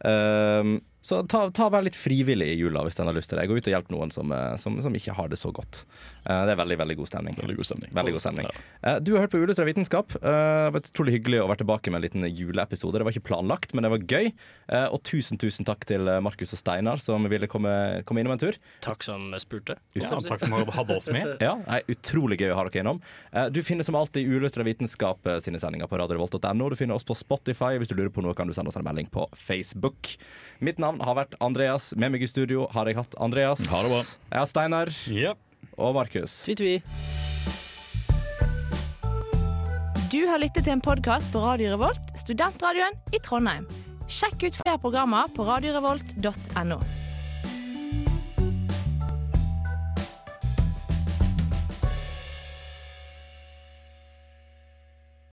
[SPEAKER 1] eh, så ta, ta vær litt frivillig i jula hvis en har lyst til det. Gå ut og hjelp noen som, eh, som, som ikke har det så godt. Eh, det er veldig, veldig god stemning.
[SPEAKER 3] Veldig god stemning.
[SPEAKER 1] Veldig god stemning. Eh, Du har hørt på Ulytter av vitenskap. Eh, Det var utrolig hyggelig å være tilbake med en liten juleepisode. Det var ikke planlagt, men det var gøy. Eh, Og tusen, tusen takk til eh, Markus og Steinar som ville komme, komme innom en tur.
[SPEAKER 7] Takk som spurte.
[SPEAKER 6] Ja, takk som hadde oss
[SPEAKER 1] [laughs]
[SPEAKER 6] med.
[SPEAKER 1] Ja, nei, Utrolig gøy å ha dere innom. Eh, Du finner som alltid Ulytter av vitenskap eh, sine sendinger på radiorevolt.no. Du finner oss på Spotify. Hvis du lurer på noe, kan du sende oss en melding på Facebook. Mitt navn har vært Andreas. Med meg i studio har jeg hatt Andreas.
[SPEAKER 3] Ha det bra.
[SPEAKER 1] Jeg har Steinar.
[SPEAKER 6] Yep.
[SPEAKER 1] Og Markus.
[SPEAKER 7] Tvi-tvi.
[SPEAKER 12] Du har lyttet til en podkast på Radio Revolt, studentradioen i Trondheim. Sjekk ut flere programmer på radiorevolt.no.